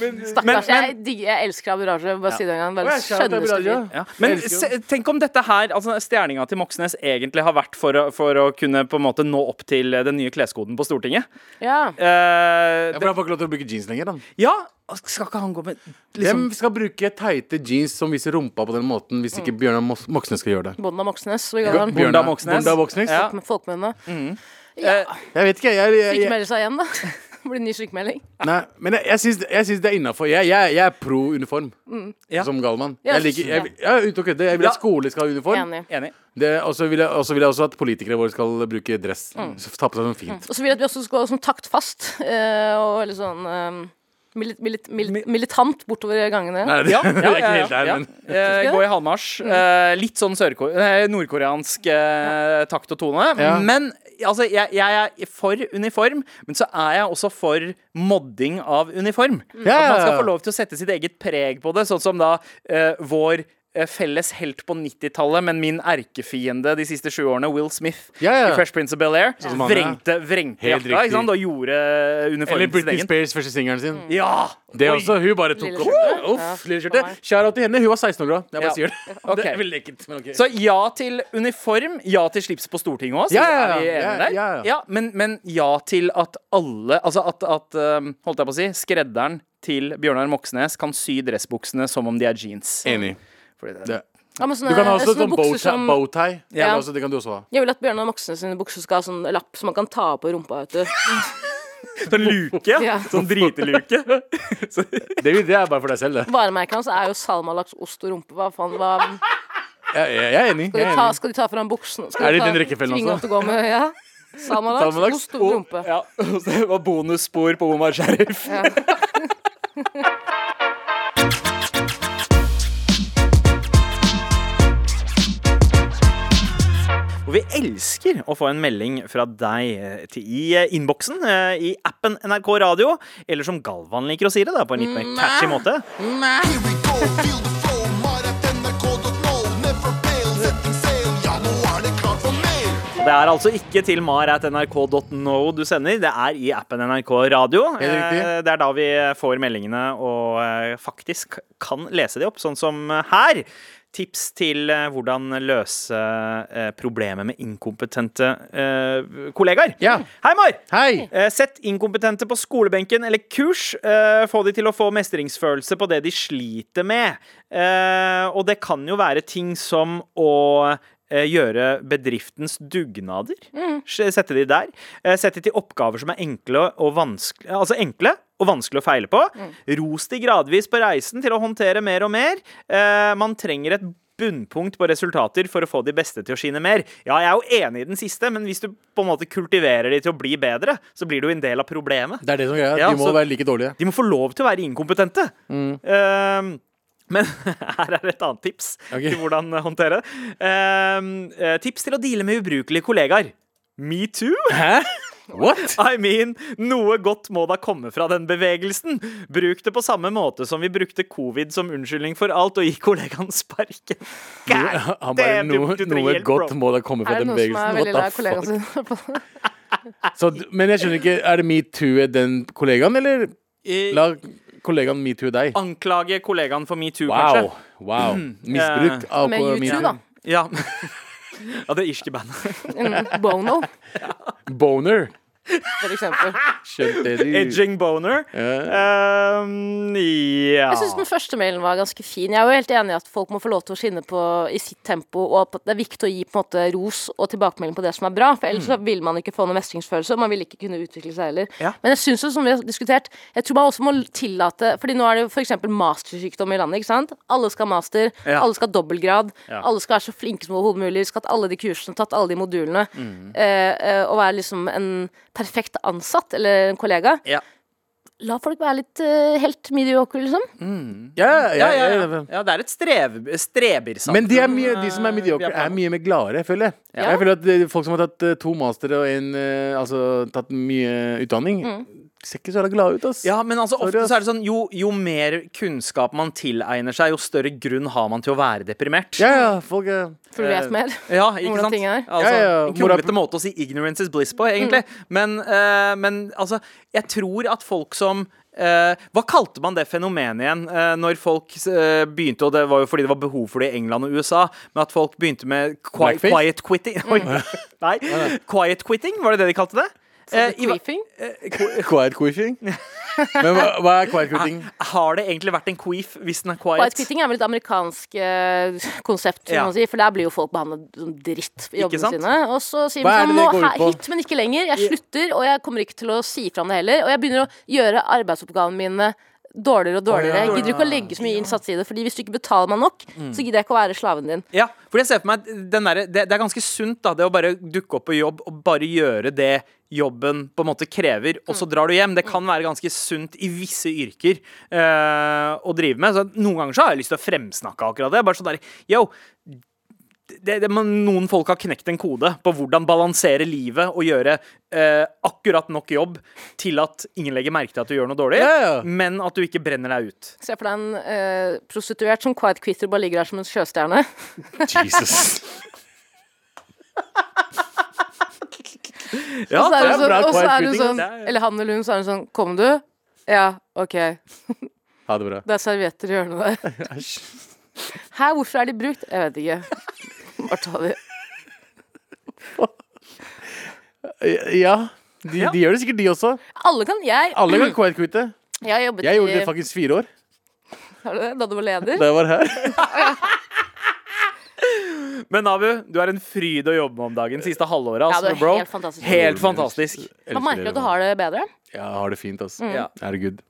men,
Stakkars.
men
Jeg digger, jeg elsker Abid Raja. Bare si det en gang.
Å,
Bare
jeg skjønner
skjønne
Abid Raja.
spiller.
ja. Men
elsker
se, tenk om dette her, altså stjerninga til Moxnes, egentlig har vært for å, for å kunne på en måte nå opp til eh, den nye kleskoden på Stortinget.
Ja.
Eh,
Ja, For han får ikke lov til å bruke jeans lenger. Da.
Ja, skal ikke han gå med liksom,
Hvem skal bruke tighte jeans som viser rumpa på den måten, hvis ikke Bjørnar Mos- Moxnes skal gjøre det?
Bånden av Moxnes. Vi kaller han.
Bjørnar-
Moxnes.
Bonda Moxnes?
Ja. Eh,
Med folkemennene.
Jeg vet ikke, jeg, jeg, jeg,
Sykemelder seg igjen, da. <laughs> Det Blir ny sykemelding.
nei, Men jeg, jeg, syns, jeg syns det er innafor. Jeg, jeg, jeg er pro uniform,
Ja.
som Galman.
Mm. Ja,
Jeg, liker, jeg, jeg, er ute og kødder. Jeg vil at
Ja.
skole skal ha uniform.
Enig.
Enig.
Det- Og så vil, jeg- og så vil jeg også at politikere våre skal bruke dress.
Mm.
Så Ta på seg sånn fint.
Og så vil jeg at vi også skal gå sånn taktfast eh, og veldig sånn eh, milit, milit, milit, militant bortover gangene.
Nei, <laughs> det,
Ja,
det er ikke helt der, men
Eh, gå i halvmarsj. Eh, litt sånn sørko- eh, nordkoreansk eh, takt og tone.
Ja.
Men altså, jeg, jeg er for uniform, men så er jeg også for modding av uniform. At man skal få lov til å sette sitt eget preg på det, sånn som da eh, vår eh, Felles helt på 90-tallet, men min erkefiende de siste sju årene, Will Smith
Ja, ja. Sånn
i Fresh Prince of Bel-Air,
som han er.
vrengte, vrengte
Helt
jakka
riktig.
ikke sant? og gjorde
Eller
uniformen sin
Britney
egen.
Spears første singelen sin.
Ja!
Det
Oi.
også, Hun bare tok
Mm. Lille
opp
skjorte.
Uff,
Ja,
lille
for
skjorte.
meg.
Shout-out til henne. Hun var 16 år da. Jeg bare
Ja.
<laughs>
sier det.
Ok.
Det er veldig ekkelt, men ok.
Så ja til uniform, ja til slips på Stortinget òg,
Ja, ja, ja.
er vi enige
Ja,
der?
ja, ja.
men, men ja til at alle Altså at, at um, holdt jeg på å si, skredderen til Bjørnar Moxnes kan sy dressbuksene som om de er jeans.
Enig.
Fordi det,
Det.
Ja, men sånne,
Du kan ha også
sånne Eh,
sånn
bukser
bowtie.
som-
bowtie. Det,
Ja.
er også- det kan du også ha.
Jeg vil at Bjørnar Moxnes sine bukser skal ha sånn lapp som man kan ta på rumpa. vet du
Sånn luke?
Ja.
Sånn driteluke?
<laughs> Det, vil- det er bare for deg selv, det.
<laughs> Varemerket hans er jo salmalaks, ost og rumpe. Hva faen, hva
Jeg, jeg, jeg er enig.
Skal
Jeg
de
er
ta,
enig.
skal de ta fram buksene? Skal
Er det
de ta-
den rekkefølgen
tvinge
også?
oss til å gå med, ja? Salmalaks,
Salmalaks
ost og rumpe.
ja, og så det var bonusspor på Omar Sheriff. Og vi elsker å få en melding fra deg eh, til, i eh, innboksen eh, i appen NRK Radio. Eller som Galvan liker å si det, da, på en litt mer catchy måte.
Here we go, feel the flow, mar at nrk.no. Never fail, setting sail, ja, nå er det klart for mer.
Det er altså ikke til mar.nrk.no du sender, det er i appen NRK Radio.
Helt riktig.
Eh, Det er da vi får meldingene og eh, faktisk kan lese de opp, sånn som her. Tips til eh, hvordan løse eh, problemet med inkompetente eh, kollegaer.
Ja.
Hei, Mar!
Hei!
Eh, Sett inkompetente på skolebenken eller kurs. eh, Få de til å få mestringsfølelse på det de sliter med. Eh, Og det kan jo være ting som å eh, gjøre bedriftens dugnader. S- Sette de der. Eh, Sette de til oppgaver som er enkle og vanskelig Altså enkle og vanskelig å feile på. Ros de gradvis på reisen til å håndtere mer og mer. Eh, Man trenger et bunnpunkt på resultater for å få de beste til å skinne mer. Ja, jeg er jo enig i den siste, men hvis du på en måte kultiverer de til å bli bedre, så blir du en del av problemet.
Det er det som er greia.
Ja,
de må
så-
være like dårlige.
De må få lov til å være inkompetente.
Mm.
Ehm, men <laughs> her er et annet tips
Ok.
til hvordan håndtere det. Ehm, eh, tips til å deale med ubrukelige kollegaer. Me too?
What?
<laughs> I mean, noe godt må da komme fra den bevegelsen. Bruk det på samme måte som vi brukte covid som unnskyldning for alt, og gi kollegaen sparken. God
Han bare,
damn, du-
noe,
du trenger
noe
hjelp,
godt
bro."
må da komme fra
Er det
den
noen som er
bevegelsen.
veldig lei
What the fuck?
kollegaen sin?
Så, d- men jeg skjønner ikke, er det metoo den kollegaen, eller
Eh,
la kollegaen metoo deg?
Anklage kollegaen for metoo,
Wow.
kanskje.
wow Misbruk av
Med
ko-
Mm. YouTube,
metoo.
da.
<laughs>
Ja. ja, det irske <laughs> bandet.
Mm, Bono,
Boner.
for eksempel.
Skjønt
<laughs>
det, du.
Edging boner.
Ja.
Ehm, ja
Jeg syns den første mailen var ganske fin. Jeg er jo helt enig i at folk må få lov til å skinne på i sitt tempo, og at det er viktig å gi på en måte ros og tilbakemelding på det som er bra, for
Mm.
ellers så vil man ikke få noen mestringsfølelse, og man vil ikke kunne utvikle seg heller.
Ja.
Men jeg syns jo, som vi har diskutert, jeg tror man også må tillate Fordi nå er det jo f.eks. mastersykdom i landet, ikke sant? Alle skal ha master,
Ja.
alle skal ha dobbeltgrad, alle skal være så flinke som overhodet mulig, skal ha tatt alle de kursene, tatt alle de modulene,
Mm.
eh, eh, og være liksom en perfekt ansatt eller en kollega.
Ja.
La folk være litt eh, helt mediocre, liksom.
Ja, ja,
ja, ja,
ja,
ja. ja, det er et streve, strebersamfunn.
Men de, er mye, de som er
vi
mediocre,
er på.
er mye mer gladere, føler jeg.
Ja.
Jeg føler at eh, Folk som har tatt eh, to mastere og en, eh, altså, tatt mye utdanning,
Mm.
ser ikke så jævla glade ut. ass
Ja, men altså, ofte
Sorry, ass.
så er det sånn jo, jo mer kunnskap man tilegner seg, jo større grunn har man til å være deprimert.
ja, ja, folk er
For du
Eh,
vet mer.
Ja, ikke
Hvordan
sant?
ting er.
Altså,
Ja, ja,
En
moral-
kronglete måte å si 'ignorance is bliss' på, egentlig.
Mm.
Men, eh, men altså, jeg tror at folk som eh, hva kalte man det fenomenet igjen? eh, når folk eh, begynte, og det var jo fordi det var behov for det i England og USA, men at folk begynte med qui
Blackface?
quiet quitting <laughs> Oi, nei. Quiet quitting, var det det de kalte det? Eh, i hva-
Queefing?
quiet quitting. men hva, hva er quiet quitting?
har det egentlig vært en queef hvis den er
White
quiet?
quitting er vel et amerikansk eh, konsept, kan
Ja.
man si, for der blir jo folk behandlet som dritt i
Ikke
jobbene
sant?
sine. Og så sier vi
Hva er
sånn
det
nå
det går ut
he-
på?
hit, men ikke lenger. Jeg slutter, og jeg kommer ikke til å si fra om det heller. Og jeg begynner å gjøre arbeidsoppgavene mine dårligere og dårligere. Jeg gidder ikke å legge så mye innsats i det, Fordi hvis du ikke betaler meg nok,
Mm.
så gidder jeg ikke å være slaven din.
Ja, for jeg ser for meg at den derre- det, det er ganske sunt da, det å bare dukke opp på jobb og bare gjøre det jobben på en måte krever, og så drar du hjem. Det kan være ganske sunt i visse yrker eh, å drive med. Så noen ganger så har jeg lyst til å fremsnakke akkurat det. Bare sånn der, yo, det, det, men noen folk har knekt en kode på hvordan balansere livet og gjøre eh, akkurat nok jobb til at ingen legger merke til at du gjør noe dårlig,
Ja, ja.
men at du ikke brenner deg ut.
Se for deg en eh, prostituert som quiet quitter og bare ligger der som en sjøstjerne.
Jesus.
Ja,
Og så er hun
det er bra
sånn, og så
quiet
er hun
quitting.
sånn Eller han eller hun, så er hun sånn Kom du? Ja, OK.
Ha det bra.
Det er servietter i hjørnet der.
<laughs> Æsj.
Hæ, hvorfor er de brukt? Jeg vet ikke. Bare ta de.
Ja, de,
Ja.
de gjør det sikkert, de også.
Alle kan jeg.
Alle kan quiet quitte.
<clears throat> Jeg har jobbet
Jeg gjorde
i
det faktisk fire år
har du det, da du var leder.
da jeg var her.
Men Abu, du er en fryd å jobbe med om dagen. Siste halvåret,
Ja,
altså,
det er
bro.
helt fantastisk.
Helt fantastisk.
Man merker at du har Mm. det bedre.
Ja, har det fint, ass.
Ja.
Herregud.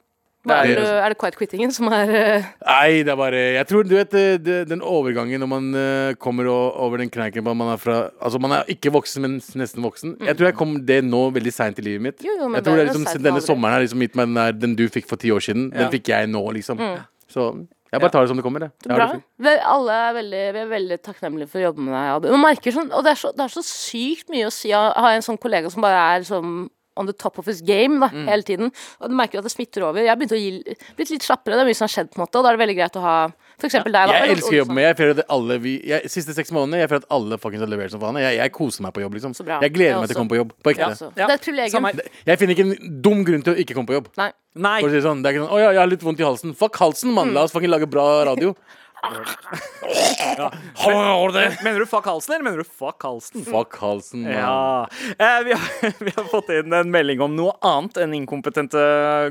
Hva er,
Det altså. er-
det, er det quiet quittingen som er eh,
Nei, det er bare Jeg tror, du vet, eh, det, det- den overgangen når man eh, kommer o- over den kneiken på at man er fra Altså, man er ikke voksen, men s- nesten voksen. Jeg tror jeg kom det nå veldig seint i livet mitt.
Mm. Jo, jo, men
jeg tror det er
bedre
liksom,
sent enn
Denne
aldri.
sommeren har liksom gitt meg den der Den du fikk for ti år siden, den fikk jeg nå, liksom. Så jeg bare tar det som det kommer, jeg. Jeg har
Mm. bra?
det fint.
Vi, alle er veldig, vi er veldig takknemlige for å jobbe med deg. Abu. Man merker sånn, og det er, så, det er så sykt mye å si å ha en sånn kollega som bare er sånn on the top of his game da,
Mm.
hele tiden. Og du merker at det smitter over. Jeg har begynt å gi, blitt litt slappere, det er mye som har skjedd, på en måte, og da er det veldig greit å ha for eksempel deg. da.
Jeg
Eller
elsker jobben
Olsen.
min. Jeg føler at alle vi, jeg, siste seks månedene Jeg føler at alle fuckings har levert som faen. Jeg, jeg koser meg på jobb, liksom.
Så bra.
Jeg gleder
Jeg
meg
også.
til å komme på jobb. På ekte.
Så. Det er et privilegium.
Samme her.
Jeg finner ikke en dum grunn til å ikke komme på jobb.
Nei.
Nei.
For å si det sånn, det er ikke sånn 'Å ja, jeg har litt vondt i halsen'. Fuck halsen, mann. La oss fucking lage bra radio.
Mener du fuck halsen, eller mener du fuck halsen?
Fuck halsen, mann.
Ja. Eh, vi,
<laughs>
har, vi har fått inn en melding om noe annet enn inkompetente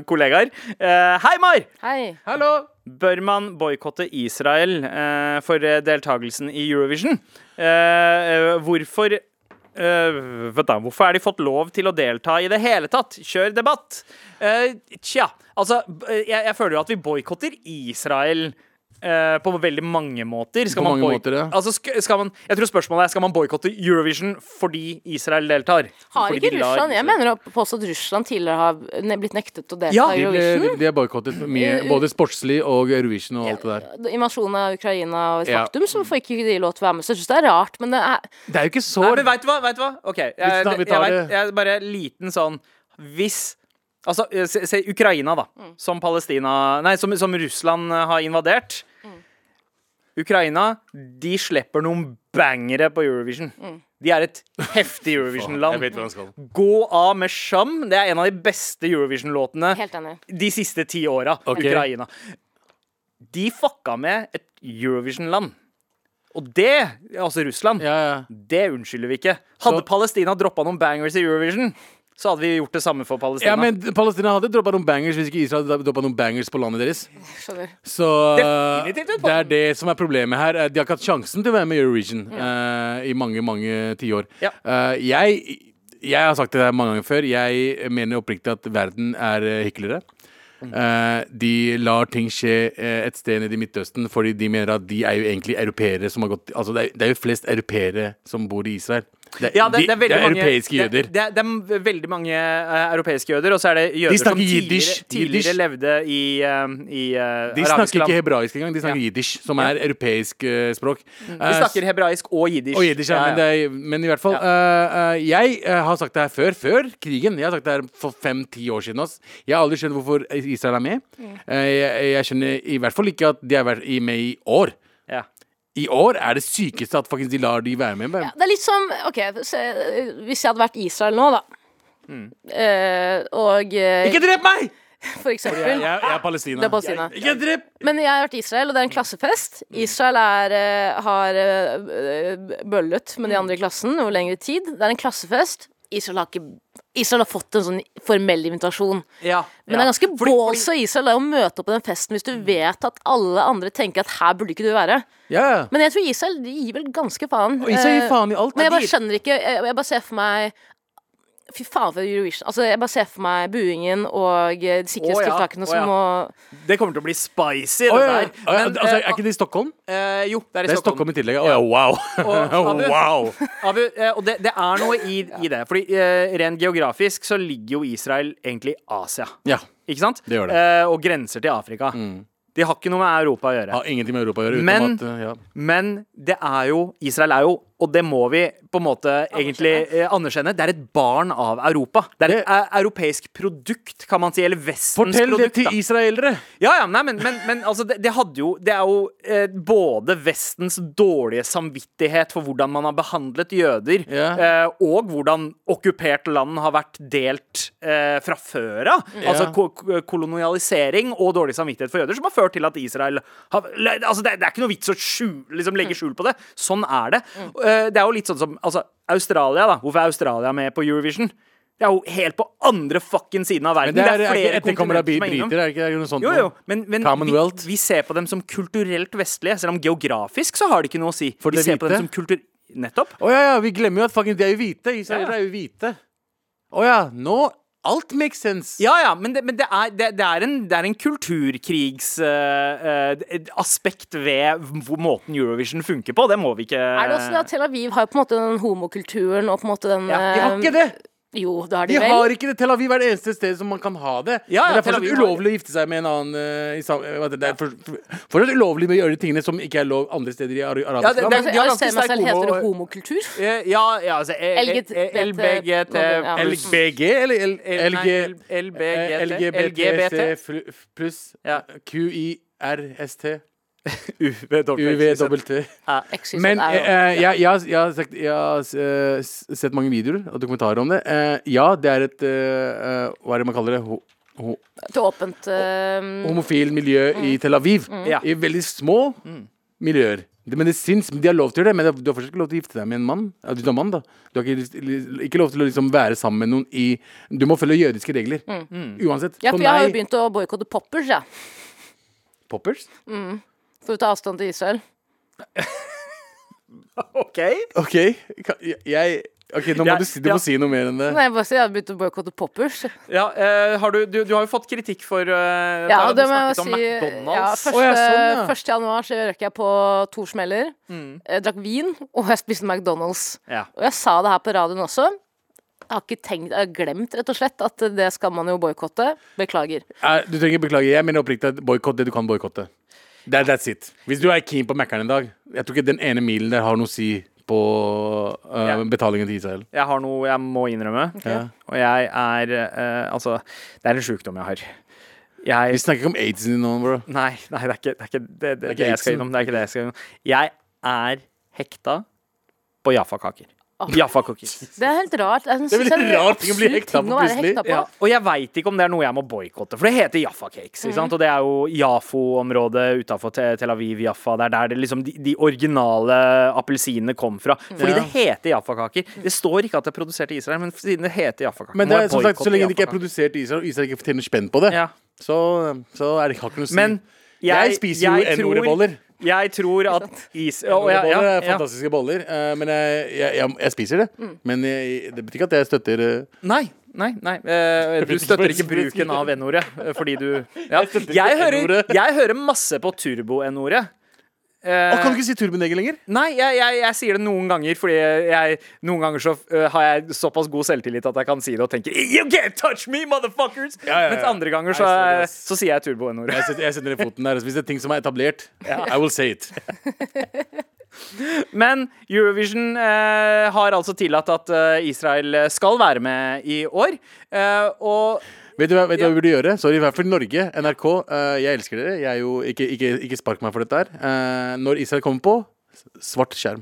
kollegaer. Eh, hei, Mar!
Hei.
Bør man boikotte Israel eh, for eh, deltakelsen i Eurovision? Eh, eh, hvorfor eh, Vent, da. Hvorfor har de fått lov til å delta i det hele tatt? Kjør debatt! Eh, tja. Altså, b- jeg, jeg føler jo at vi boikotter Israel. eh, på veldig mange måter. Skal
På
man
mange
boik-
måter, ja.
altså, sk skal man, jeg tror spørsmålet er Skal man boikotte Eurovision fordi Israel deltar.
Har
Fordi
ikke
de lar
Russland Jeg
Israel-
mener å påstå at Russland tidligere har ne- blitt nektet å delta
Ja,
i
De, ble,
Eurovision.
de, de er boikottet mye, både sportslig og Eurovision og alt det der.
Invasjonen av Ukraina og et
Ja.
faktum, så får ikke de lov til å være med. Så jeg syns det er rart, men det er
Det er jo ikke så
Nei, men vet du hva? Vet du hva? Ok, jeg,
Vi tar- vi tar
jeg,
det.
vet, jeg er bare liten sånn Hvis Altså, eh, se, se Ukraina, da. Som Palestina Nei, som, som Russland eh, har invadert. Ukraina, de slipper noen bangere på Eurovision. De er et
<laughs>
heftig
Jeg vet
Eurovision-land.
hvor han skal.
Gå av med Sham. Det er en av de beste Eurovision-låtene
helt enig.
de siste ti åra.
Ok.
Ukraina. De fucka med et Eurovision-land. Og det, altså Russland,
Ja, ja.
det unnskylder vi ikke. Hadde
Så-
Palestina droppa noen bangers i Eurovision, så hadde vi gjort det samme for Palestina.
ja, men Palestina hadde droppa noen bangers hvis ikke Israel hadde droppa noen bangers på landet deres.
Skjønner.
Så
Definitivt,
det er det som er problemet her. Eh, De har ikke hatt sjansen til å være med i Eurovision eh, i mange, mange tiår.
Ja.
Eh, jeg, jeg har sagt det der mange ganger før. Jeg mener oppriktig at verden er eh, hyklere.
Mm.
Eh, de lar ting skje eh, et sted nede i Midtøsten fordi de mener at de er jo egentlig europeere som har gått Altså det er, det er jo flest europeere som bor i Israel. Det,
Ja, det,
de,
det er veldig
de er
mange,
europeiske
det-
jøder.
Det, er- det er veldig mange eh, europeiske jøder, og så er det jøder som
snakker jiddish,
tidligere, tidligere
jiddish.
levde i, eh, i eh,
de
arabiske
snakker
land.
ikke hebraisk engang, de snakker jiddish, som er europeisk eh, språk.
Mm. De snakker hebraisk og jiddish.
Og jiddish, ja,
Ja,
men, det er, men i hvert fall eh, eh, Jeg eh, har sagt det her før, før krigen. Jeg har sagt det her for fem-ti år siden. Ass. Jeg har aldri skjønt hvorfor Israel er med.
Mm.
Eh, jeg, jeg skjønner i hvert fall ikke at de har vært i- med i år.
ja.
I år er det sykeste at faktisk de lar de være med. bare.
Ja, det er litt som OK, se, hvis jeg hadde vært Israel nå, da. Eh, og eh,
Mm. Ikke drep meg!
for eksempel
Jeg, jeg er Palestina.
Det er Palestina.
Ikke drep! Mm.
Men jeg har vært i Israel, og det er en klassefest. Israel er, eh, har eh, bøllet
Mm.
med de andre i klassen over lengre tid. Det er en klassefest. Israel har, ikke, Israel har fått en sånn formell invitasjon.
Ja,
Men det er ganske balls av Israel da, å møte opp på den festen hvis du vet at alle andre tenker at her burde ikke du være.
Ja, ja.
Men jeg tror Israel de gir vel ganske faen.
Og
Eh,
Israel gir faen i alt.
men jeg
da.
bare skjønner ikke Jeg, jeg bare ser for meg Fy faen for Eurovision. Altså, jeg bare ser for meg buingen og eh, de sikkerhetstiltakene
Å, ja. Eh. Å, ja.
som må
Det kommer til å bli spicy, det
Å, ja, ja.
der.
Å, ja,
Men,
altså,
eh,
er ikke det i Stockholm?
eh, jo, det er i
Det er
Stockholm.
Stockholm i tillegg. Å ja, wow. <laughs>
Og-
wow.
Abu, eh, og det, det er noe i, i det. Fordi eh, Rent geografisk så ligger jo Israel egentlig i Asia.
Ja.
Ikke sant?
Det gjør det. Mm.
Eh, og grenser til Afrika. De har ikke noe med Europa å gjøre.
Har ingenting med Europa å gjøre. Utenom
Men-
at, eh, ja.
Men det er jo Israel er jo, og det må vi på en måte egentlig eh, anerkjenne, det er et barn av Europa. Det er et eh, europeisk produkt, kan man si. Eller Vestens
Fortell det
produkt.
til
da.
israelere!
Ja, ja, nei, men, men, men altså, det, det hadde jo Det er jo eh, både Vestens dårlige samvittighet for hvordan man har behandlet jøder,
Ja.
eh, og hvordan okkupert land har vært delt eh, fra før av. Altså
Mm. Ja.
ko ko- kolonialisering og dårlig samvittighet for jøder, som har ført til at Israel har le- Altså, det, det er ikke noe vits å skjule, liksom,
Mm.
legge skjul på det. Sånn er det. Eh, det er jo litt sånn som altså, Australia, da. Hvorfor er Australia med på Eurovision? Det er jo helt på andre fucking siden av verden.
Men det er, er ikke
flere
etterkommere
kontinenter
av bi-
som er innom.
briter, er det ikke er det noe sånt?
Jo,
nå?
jo, men, men
Commonwealth.
vi, vi ser på dem som kulturelt vestlige, selv om geografisk så har det ikke noe å si.
For
vi
det
ser på
hvite?
dem som kultur... Nettopp.
Å ja, ja, vi glemmer jo at fucking de er jo hvite.
Ja,
Israelere
ja.
er jo hvite. Å ja, nå Alt makes sense.
Ja ja, men det, men det, er, det, det er en, det er en eh, kulturkrigsaspekt ved hvor måten Eurovision funker på. Det må vi ikke
Er det også det at Tel Aviv har jo på en måte den homokulturen og på en måte den
Ja, de har
eh,
Ikke det!
Jo, det har
De
de vel.
har ikke det. Tel Aviv er det eneste stedet som man kan ha det.
Ja, ja,
men det er
Tel
fortsatt
Aviv har
ulovlig å gifte seg med en annen eh, i sam- eh, hva heter Det det er for- for- fortsatt ulovlig med å gjøre de tingene som ikke er lov andre steder i ar
det-
arabiske land.
det-
Altså,
de har
jeg
ganske
ser meg
sterk
selv heter det
homo-
homokultur.
Eh, Ja, ja altså eh, eh,
LGT,
eh, LBGT
ja.
pluss
LBG eller L
L- nei,
LG
L-
eh,
LBGT.
LGBT
LGBT.
fl- f- pluss
Ja.
QIRST
UVW.
UVWT.
Exit
Men
er jo-
eh, eh, jeg, jeg, har- jeg har, sagt, jeg har eh, s- sett mange videoer og dokumentarer om det. Eh, ja, det er et eh, eh, Hva er det man kaller det? Ho ho
Et åpent eh,
homofil miljø
Mm.
i Tel Aviv.
Ja. Mm.
I veldig små miljøer. Det- Men det syns, men de har lov til å gjøre det, men det- du har fortsatt ikke lov til å gifte deg med en mann. Ja, Du er mann da Du har ikke, lyst- ikke lov til å liksom være sammen med noen i Du må følge jødiske regler.
Mm.
Uansett.
Mm. Ja,
For
for jeg har jo
meg-
begynt å boikotte poppers, jeg.
Poppers?
For å ta avstand til Israel.
OK.
OK. Ka- Jeg, jeg Ok, nå må
Jeg-
du, si, du
ja.
må si noe mer enn det.
Nei, jeg bare sier jeg har begynt å boikotte poppers.
Ja, eh, har du, du, du har jo fått kritikk for eh,
Ja,
da
og
du
det må jeg si.
snakket om
Ja,
McDonald's.
første,
Å, ja, sånn, ja.
første januar så røk jeg på to smeller. eh, Drakk vin, og jeg spiste McDonald's.
Ja.
Og jeg sa det her på radioen også. Jeg har ikke tenkt, jeg har glemt rett og slett at det skal man jo boikotte. Beklager.
Eh, Du trenger ikke beklage. Jeg mener oppriktig at boikott det du kan boikotte. That, that's it. Hvis du er keen på Mækkern en dag Jeg tror ikke den ene milen der har noe å si på eh,
Ja.
betalingen til Israel.
Jeg har noe jeg må innrømme.
Ja.
Og jeg er eh, Altså, det er en sjukdom jeg har.
Vi
Jeg
snakker ikke om aids nå, bro.
Nei, nei det, er ikke, det er ikke det, det, det,
ikke
jeg skal
Ibsen.
innom. Det er ikke det jeg skal innom. Jeg er hekta på Jaffa-kaker. Jaffa-cookies.
Det er helt rart. Jeg synes
Det er veldig
det er en
rar ting å bli
absurd
hekta
ting
på
å være
plutselig.
hekta på.
Ja, og jeg veit ikke om det er noe jeg må boikotte, for det heter Jaffa Cakes. Ikke
Mm.
sant? Og det er jo Jafo-området utafor Tel Aviv, Jaffa. Det er der det liksom de, de originale appelsinene kom fra. Fordi
Ja.
det heter Jaffa-kaker. Det står ikke at det er produsert i Israel, men siden det heter Jaffa-kaker
Men
må
det er,
jeg
som sagt, så
boykotte
lenge det ikke er
Jaffa-kaker.
produsert i Israel, og Israel ikke tjener spenn på det,
Ja.
så, så er det, har ikke noe å si.
Men
jeg, spiser jo
jeg tror-
N-ordeboller.
Jeg tror at is... Ja, og
Boller
jeg- ja,
er
ja.
fantastiske boller, eh, men jeg, jeg, jeg, jeg spiser det. Men jeg, det betyr ikke at jeg støtter eh,
Nei. Nei, nei. eh, du støtter ikke bruken av N-ordet eh, fordi du ja. jeg, hører,
N-ordet.
jeg hører masse på turbo-N-ordet. Eh,
Å, Kan du ikke si turbonegger lenger?
Nei, jeg, jeg, jeg sier det noen ganger, fordi jeg, noen ganger så øh, har jeg såpass god selvtillit at jeg kan si det og tenke You can't touch me, motherfuckers!
Ja, ja, ja.
Mens andre ganger så,
Nei,
er-
sorry, ass.
så sier jeg turbo-n-ordet.
Jeg setter, jeg setter ned foten der. altså, Hvis det er ting som er etablert, I will say it.
Men Eurovision eh, har altså tillatt at eh, Israel skal være med i år. Eh, og
Vet du hva, vet du hva vi burde gjøre? Sorry, i hvert fall Norge, NRK. eh, jeg elsker dere. Jeg er jo, ikke, ikke, ikke spark meg for dette her. Eh, når Israel kommer på, s- svart skjerm.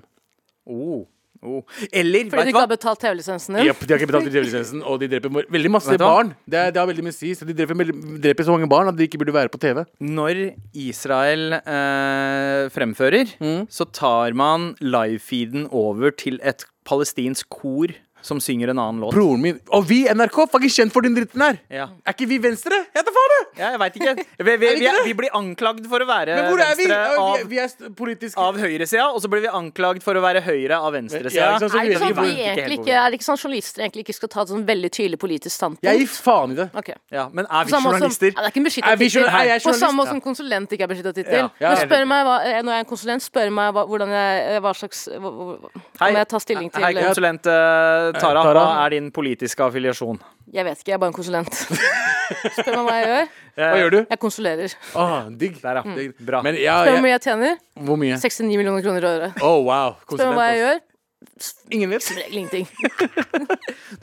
oh, oh.
Fordi du
Eller, vet du hva?
ikke har betalt TV-lisensen din.
Japp, de har ikke betalt TV-lisensen, og de dreper mor- veldig masse
Vet du hva?
barn. Det, er- det har veldig mye å si. Så de dreper, veldig- dreper så mange barn at de ikke burde være på TV.
Når Israel eh, fremfører, så tar man livefeeden over til et palestinsk kor som synger en annen låt.
Broren min Og vi, NRK, fucking kjent for den dritten her!
Ja.
Er ikke vi Venstre? Jeg tar faen, det!
Ja, jeg veit ikke. Vi, vi,
Er vi
vi,
ikke det?
vi blir anklagd for å være
Men hvor er vi?
venstre
Ja, Vi,
av,
vi er st- politisk
av høyresida, og så blir vi anklagd for å være høyre av venstresida. liksom?
Ja, ikke sant, så
Er det,
vi
ikke
vet
sånn at
hvor-
vi egentlig ikke, er det ikke sånn at journalister egentlig ikke skal ta et sånn veldig tydelig politisk standpunkt?
Jeg gir faen i det.
Ok.
Ja, men er vi
Samme som-
journalister?
Ja, det er ikke en beskyttet
Er vi journal-
tittel.
er jeg
På
journalist?
samme måte som konsulent ikke er beskytta tittel.
Ja. Ja,
Men
ja.
spør meg hva, eh, når jeg er en konsulent, spør meg hva, hvordan jeg, eh, hva slags hva- hva- Om jeg tar stilling til
Hei, konsulent eh, Tara.
Tara.
Hva er din politiske affiliasjon?
Jeg vet ikke, jeg er bare en
<laughs>
konsulent. spør meg hva jeg gjør.
Hva gjør du?
Jeg konsulerer.
Ah, digg.
Der, ja.
Digg.
Bra.
Men Ah, ja,
Spør meg hvor
jeg,
mye jeg tjener.
hvor mye?
69 millioner kroner i året.
Oh, wow.
Spør meg hva jeg gjør.
altså. Ingen vet.
Som regel ingenting.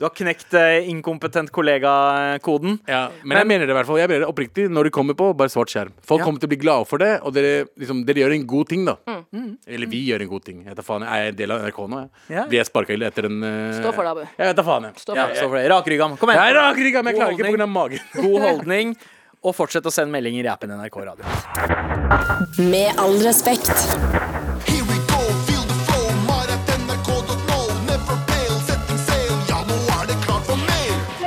Du har knekt eh, inkompetent kollega-koden.
Ja, men, jeg mener det i hvert fall. Jeg mener det oppriktig. Når du kommer på, bare svart skjerm. Folk kommer til å bli glade for det, og dere, liksom, dere gjør en god ting, da.
Mm.
Eller vi gjør en god ting. Jeg tar faen, jeg er en del av NRK nå. Jeg.
Ja.
Blir jeg sparka etter en eh,
Stå for det, Abu.
Jeg vet da faen, jeg.
Stå
Ja,
for det.
så for det. Rakrygga. Kom
Jeg er
igjen.
rak i ryggen, men jeg klarer ikke pga. magen.
<laughs> God holdning. Og fortsett å sende meldinger i appen NRK Radio.
Med all respekt.
Here we go, feel the flow, maratnrk.no. Never fail, setting sail, ja nå er det klart for mer.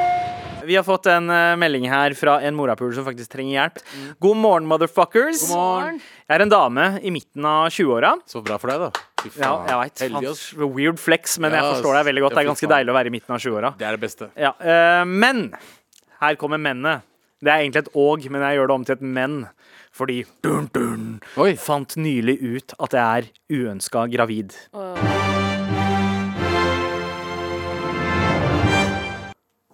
Vi har fått en eh, melding her fra en morapuler som faktisk trenger hjelp. God morgen, motherfuckers.
morgen.
Jeg er en dame i midten av 20-åra.
Så bra for deg, da. Fy
Ja,
faen.
jeg vet.
Heldig, ass.
Faen, Weird flex, men
Ja,
jeg forstår deg veldig godt.
ja,
Det er
fy
ganske
faen.
deilig å være i midten av 20-åra.
Det er det beste.
Ja, eh, men her kommer mennene. Det er egentlig et åg, men jeg gjør det om til et men. Fordi dun, dun,
Oi.
fant nylig ut at jeg er uønska gravid.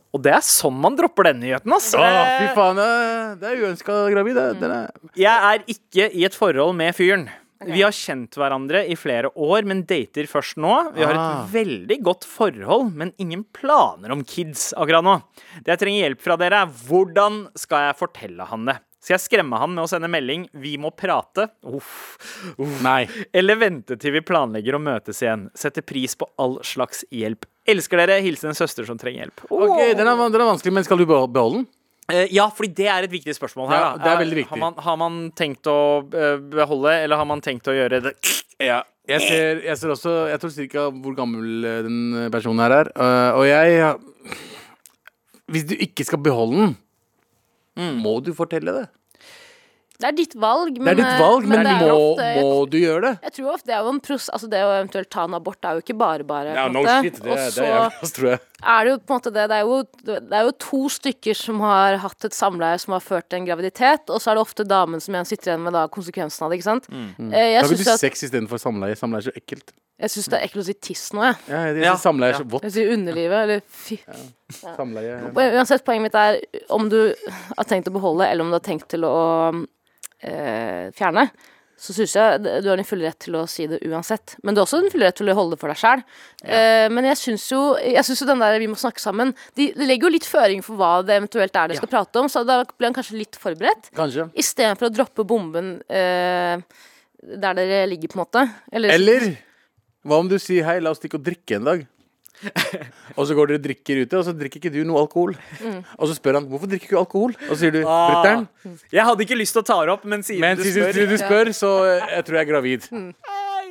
Og det er sånn man dropper den nyheten, ass.
Åh, fy
Eh,
faen, eh, Mm. det er uønska gravid. Det, den er.
Jeg er ikke i et forhold med fyren. Vi har kjent hverandre i flere år, men dater først nå. Vi har
Ah.
et veldig godt forhold, men ingen planer om kids akkurat nå. Det jeg trenger hjelp fra dere, er hvordan skal jeg fortelle han det? Skal jeg skremme han med å sende melding 'vi må prate'? Uff. Uff.
Nei.
Eller vente til vi planlegger å møtes igjen. Setter pris på all slags hjelp. Elsker dere. Hilsen en søster som trenger hjelp.
Ok, den er, van- den er vanskelig, men skal du beho- beholde den?
Eh, Ja, fordi det er et viktig spørsmål her.
Ja,
da.
det er
Eh,
veldig viktig.
Har man, har man tenkt å eh, beholde, eller har man tenkt å gjøre det
<laughs> Jeg ser, jeg ser også Jeg tror cirka hvor gammel eh, den eh, personen her er. Eh, og jeg Hvis du ikke skal beholde den, må du fortelle det.
Det er ditt valg, men
Det er ditt valg, men,
det er
må,
ofte- jeg-
må du gjøre det?
Jeg tror ofte det er jo en pros, altså det å eventuelt ta en abort er jo ikke bare bare. på en
no
måte.
shit, det,
Og
er- det er
så-
jævlig, tror jeg.
er det jo på en måte det Det er jo, det er jo to stykker som har hatt et samleie som har ført til en graviditet, og så er det ofte damen som igjen sitter igjen med da konsekvensen av det, ikke sant? Eh,
Da
Jeg
vil du
syns
sex istedenfor samleie. Samleie er så ekkelt.
det er ekkelt å si tiss nå, jeg.
Ja, jeg, jeg
Ja,
synes samleie er så vått.
Jeg sier underlivet, eller fy.
Samleie
Uansett, poenget mitt er om du har tenkt å beholde, eller om du har tenkt til å eh, fjerne, så syns jeg det- du har din fulle rett til å si det uansett. Men du har også din fulle rett til å holde det for deg sjæl. Eh, men jeg syns jo, jeg synes jo den der 'vi må snakke sammen' de, de legger jo litt føring for hva det eventuelt er de skal prate om, så da blir han kanskje litt forberedt.
Kanskje.
Istedenfor å droppe bomben eh, der dere ligger, på en måte. Eller,
Eller hva om du sier hei, la oss stikke og drikke en <laughs> dag? og så går dere og drikker ute, og så drikker ikke du noe alkohol.
Mm.
Og så spør han hvorfor drikker ikke du alkohol, og så sier du brutter'n.
Jeg hadde ikke lyst til å ta det opp, men siden
Men
du
siden
spør
du, du spør, så eh, jeg tror jeg er gravid.
Mm.
Det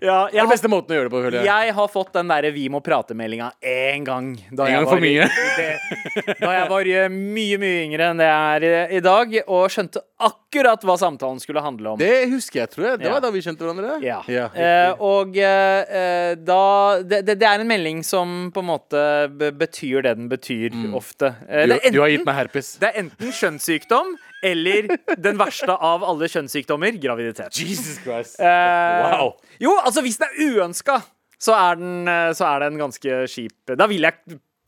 ja, jeg,
er den
har,
beste måten å gjøre det på, føler jeg.
jeg har fått den derre Vi må prate-meldinga én gang. Da
En gang for mye.
det, da jeg var eh, mye, mye yngre enn det jeg er i- i dag, og skjønte akkurat hva samtalen skulle handle om.
Det husker jeg, tror jeg. Det
Ja.
var da vi kjente hverandre.
Ja.
riktig.
Eh, og eh, eh, da det, det, det er en melding som på en måte be- betyr det den betyr, ofte. Eh, det
Mm. du,
er
du har
enten-
gitt meg herpes.
Det er enten kjønnssykdom eller den verste av alle kjønnssykdommer, graviditet.
Jesus Christ.
Eh,
Wow.
Jo, altså hvis det er uønska, så er den, eh, så er den ganske kjip. Da vil jeg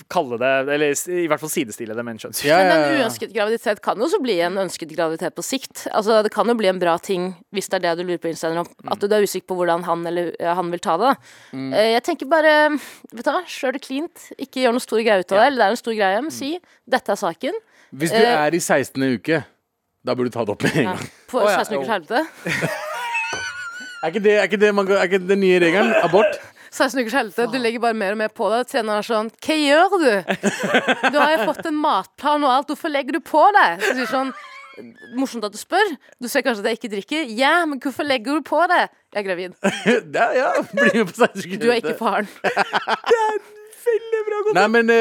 kalle det, eller s- i hvert fall sidestille det med en kjønnssykdom.
Ja,
Men
ja,
en
ja.
uønsket graviditet kan jo også bli en ønsket graviditet på sikt. Altså, det kan jo bli en bra ting, hvis det er det du lurer på, innsender, om, at du er usikker på hvordan han eller ja, han vil ta det. Da.
Mm.
Eh, Jeg tenker bare vet du hva, kjør det cleant. Ikke gjør noe stor greie ut av det. Eller det er en stor greie,
Mm.
men si 'dette er saken'.
Hvis du
eh,
er i 16. uke, da burde du ta det opp med en gang.
På
Å, ja,
16 ukers
jo.
helvete.
<laughs>
Er ikke det, er ikke det, man, er ikke den nye regelen? Abort? <laughs>
16 ukers helvete, Du legger bare mer og mer på deg. Treneren er sånn 'Hva gjør du?'
<laughs>
'Du har jo fått en matplan og alt. Hvorfor legger du på deg?' Så sier sånn Morsomt at du spør. Du ser kanskje at jeg ikke drikker. Ja, men hvorfor legger du på deg? Jeg er gravid.
Det er, ja, <laughs> bli med på 16. uke.
Du er ikke faren.
Nei, men eh,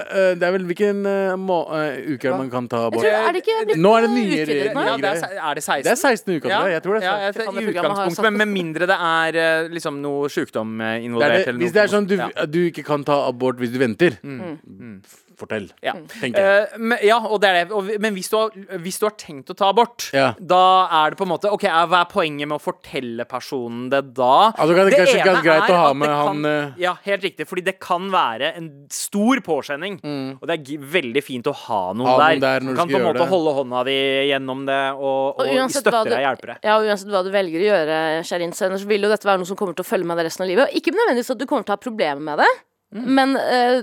eh, det er vel hvilken eh, må, eh, uke er det man kan ta abort?
Jeg tror, er det ikke blitt
Nå er det nye
utvidet nå?
Ja,
regler.
det er, se- er det 16?
Det er 16 uker, tror jeg. jeg tror det er
ja,
16.
jeg tror
Kan
i
det programmet ha
utgangspunktet,
sagt
men med mindre det er eh, liksom noe sjukdom eh,
Det
involvert.
er det,
eller
hvis
noe
det er sånn
sånt.
du,
Ja. Mm.
du ikke kan ta abort hvis du venter, f- fortell.
Ja.
Tenker jeg.
Eh, men, ja, og det er det. Og, vi- men hvis du, har, hvis du har tenkt å ta abort,
Ja.
da er det på en måte OK, er- hva er poenget med å fortelle personen det da?
Altså, kan det kanskje ikke være greit å
er
ha
at det
med
kan,
han, eh,
Ja, helt riktig. Fordi det kan være en stor påkjenning. Og det er g- veldig fint å ha noen
Mm. Ha
der.
noen der når du
kan på en
skal gjøre
måte
det.
holde hånda di gjennom det og, og,
uansett hva
støtte
du-
deg, hjelpe deg.
<laughs> Ja, og uansett hva du velger å gjøre, kjære innsender, så vil jo dette være noe som kommer til å følge med deg resten av livet. Og ikke nødvendigvis at du kommer til å ha problemer med det, men eh,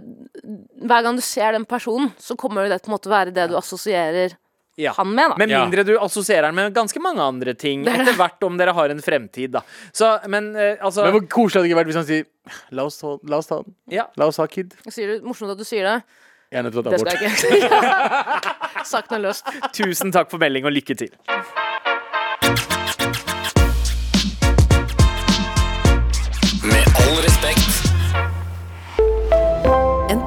hver gang du ser den personen, så kommer det på en måte å være det du assosierer
Ja.
han med, da.
Med
Ja.
mindre du assosierer den med ganske mange andre ting etter hvert, om dere har en fremtid, da. Så, men eh, altså
Men hvor koselig hadde det ikke vært hvis han sier La oss ta, la oss ta den.
Ja.
La oss ha kid.
Sier du, morsomt at du sier det.
Jeg er nødt til å ta
Det
abort.
skal jeg ikke. <laughs> Sagt og løst.
Tusen takk for melding, og lykke til.
Med all respekt.
En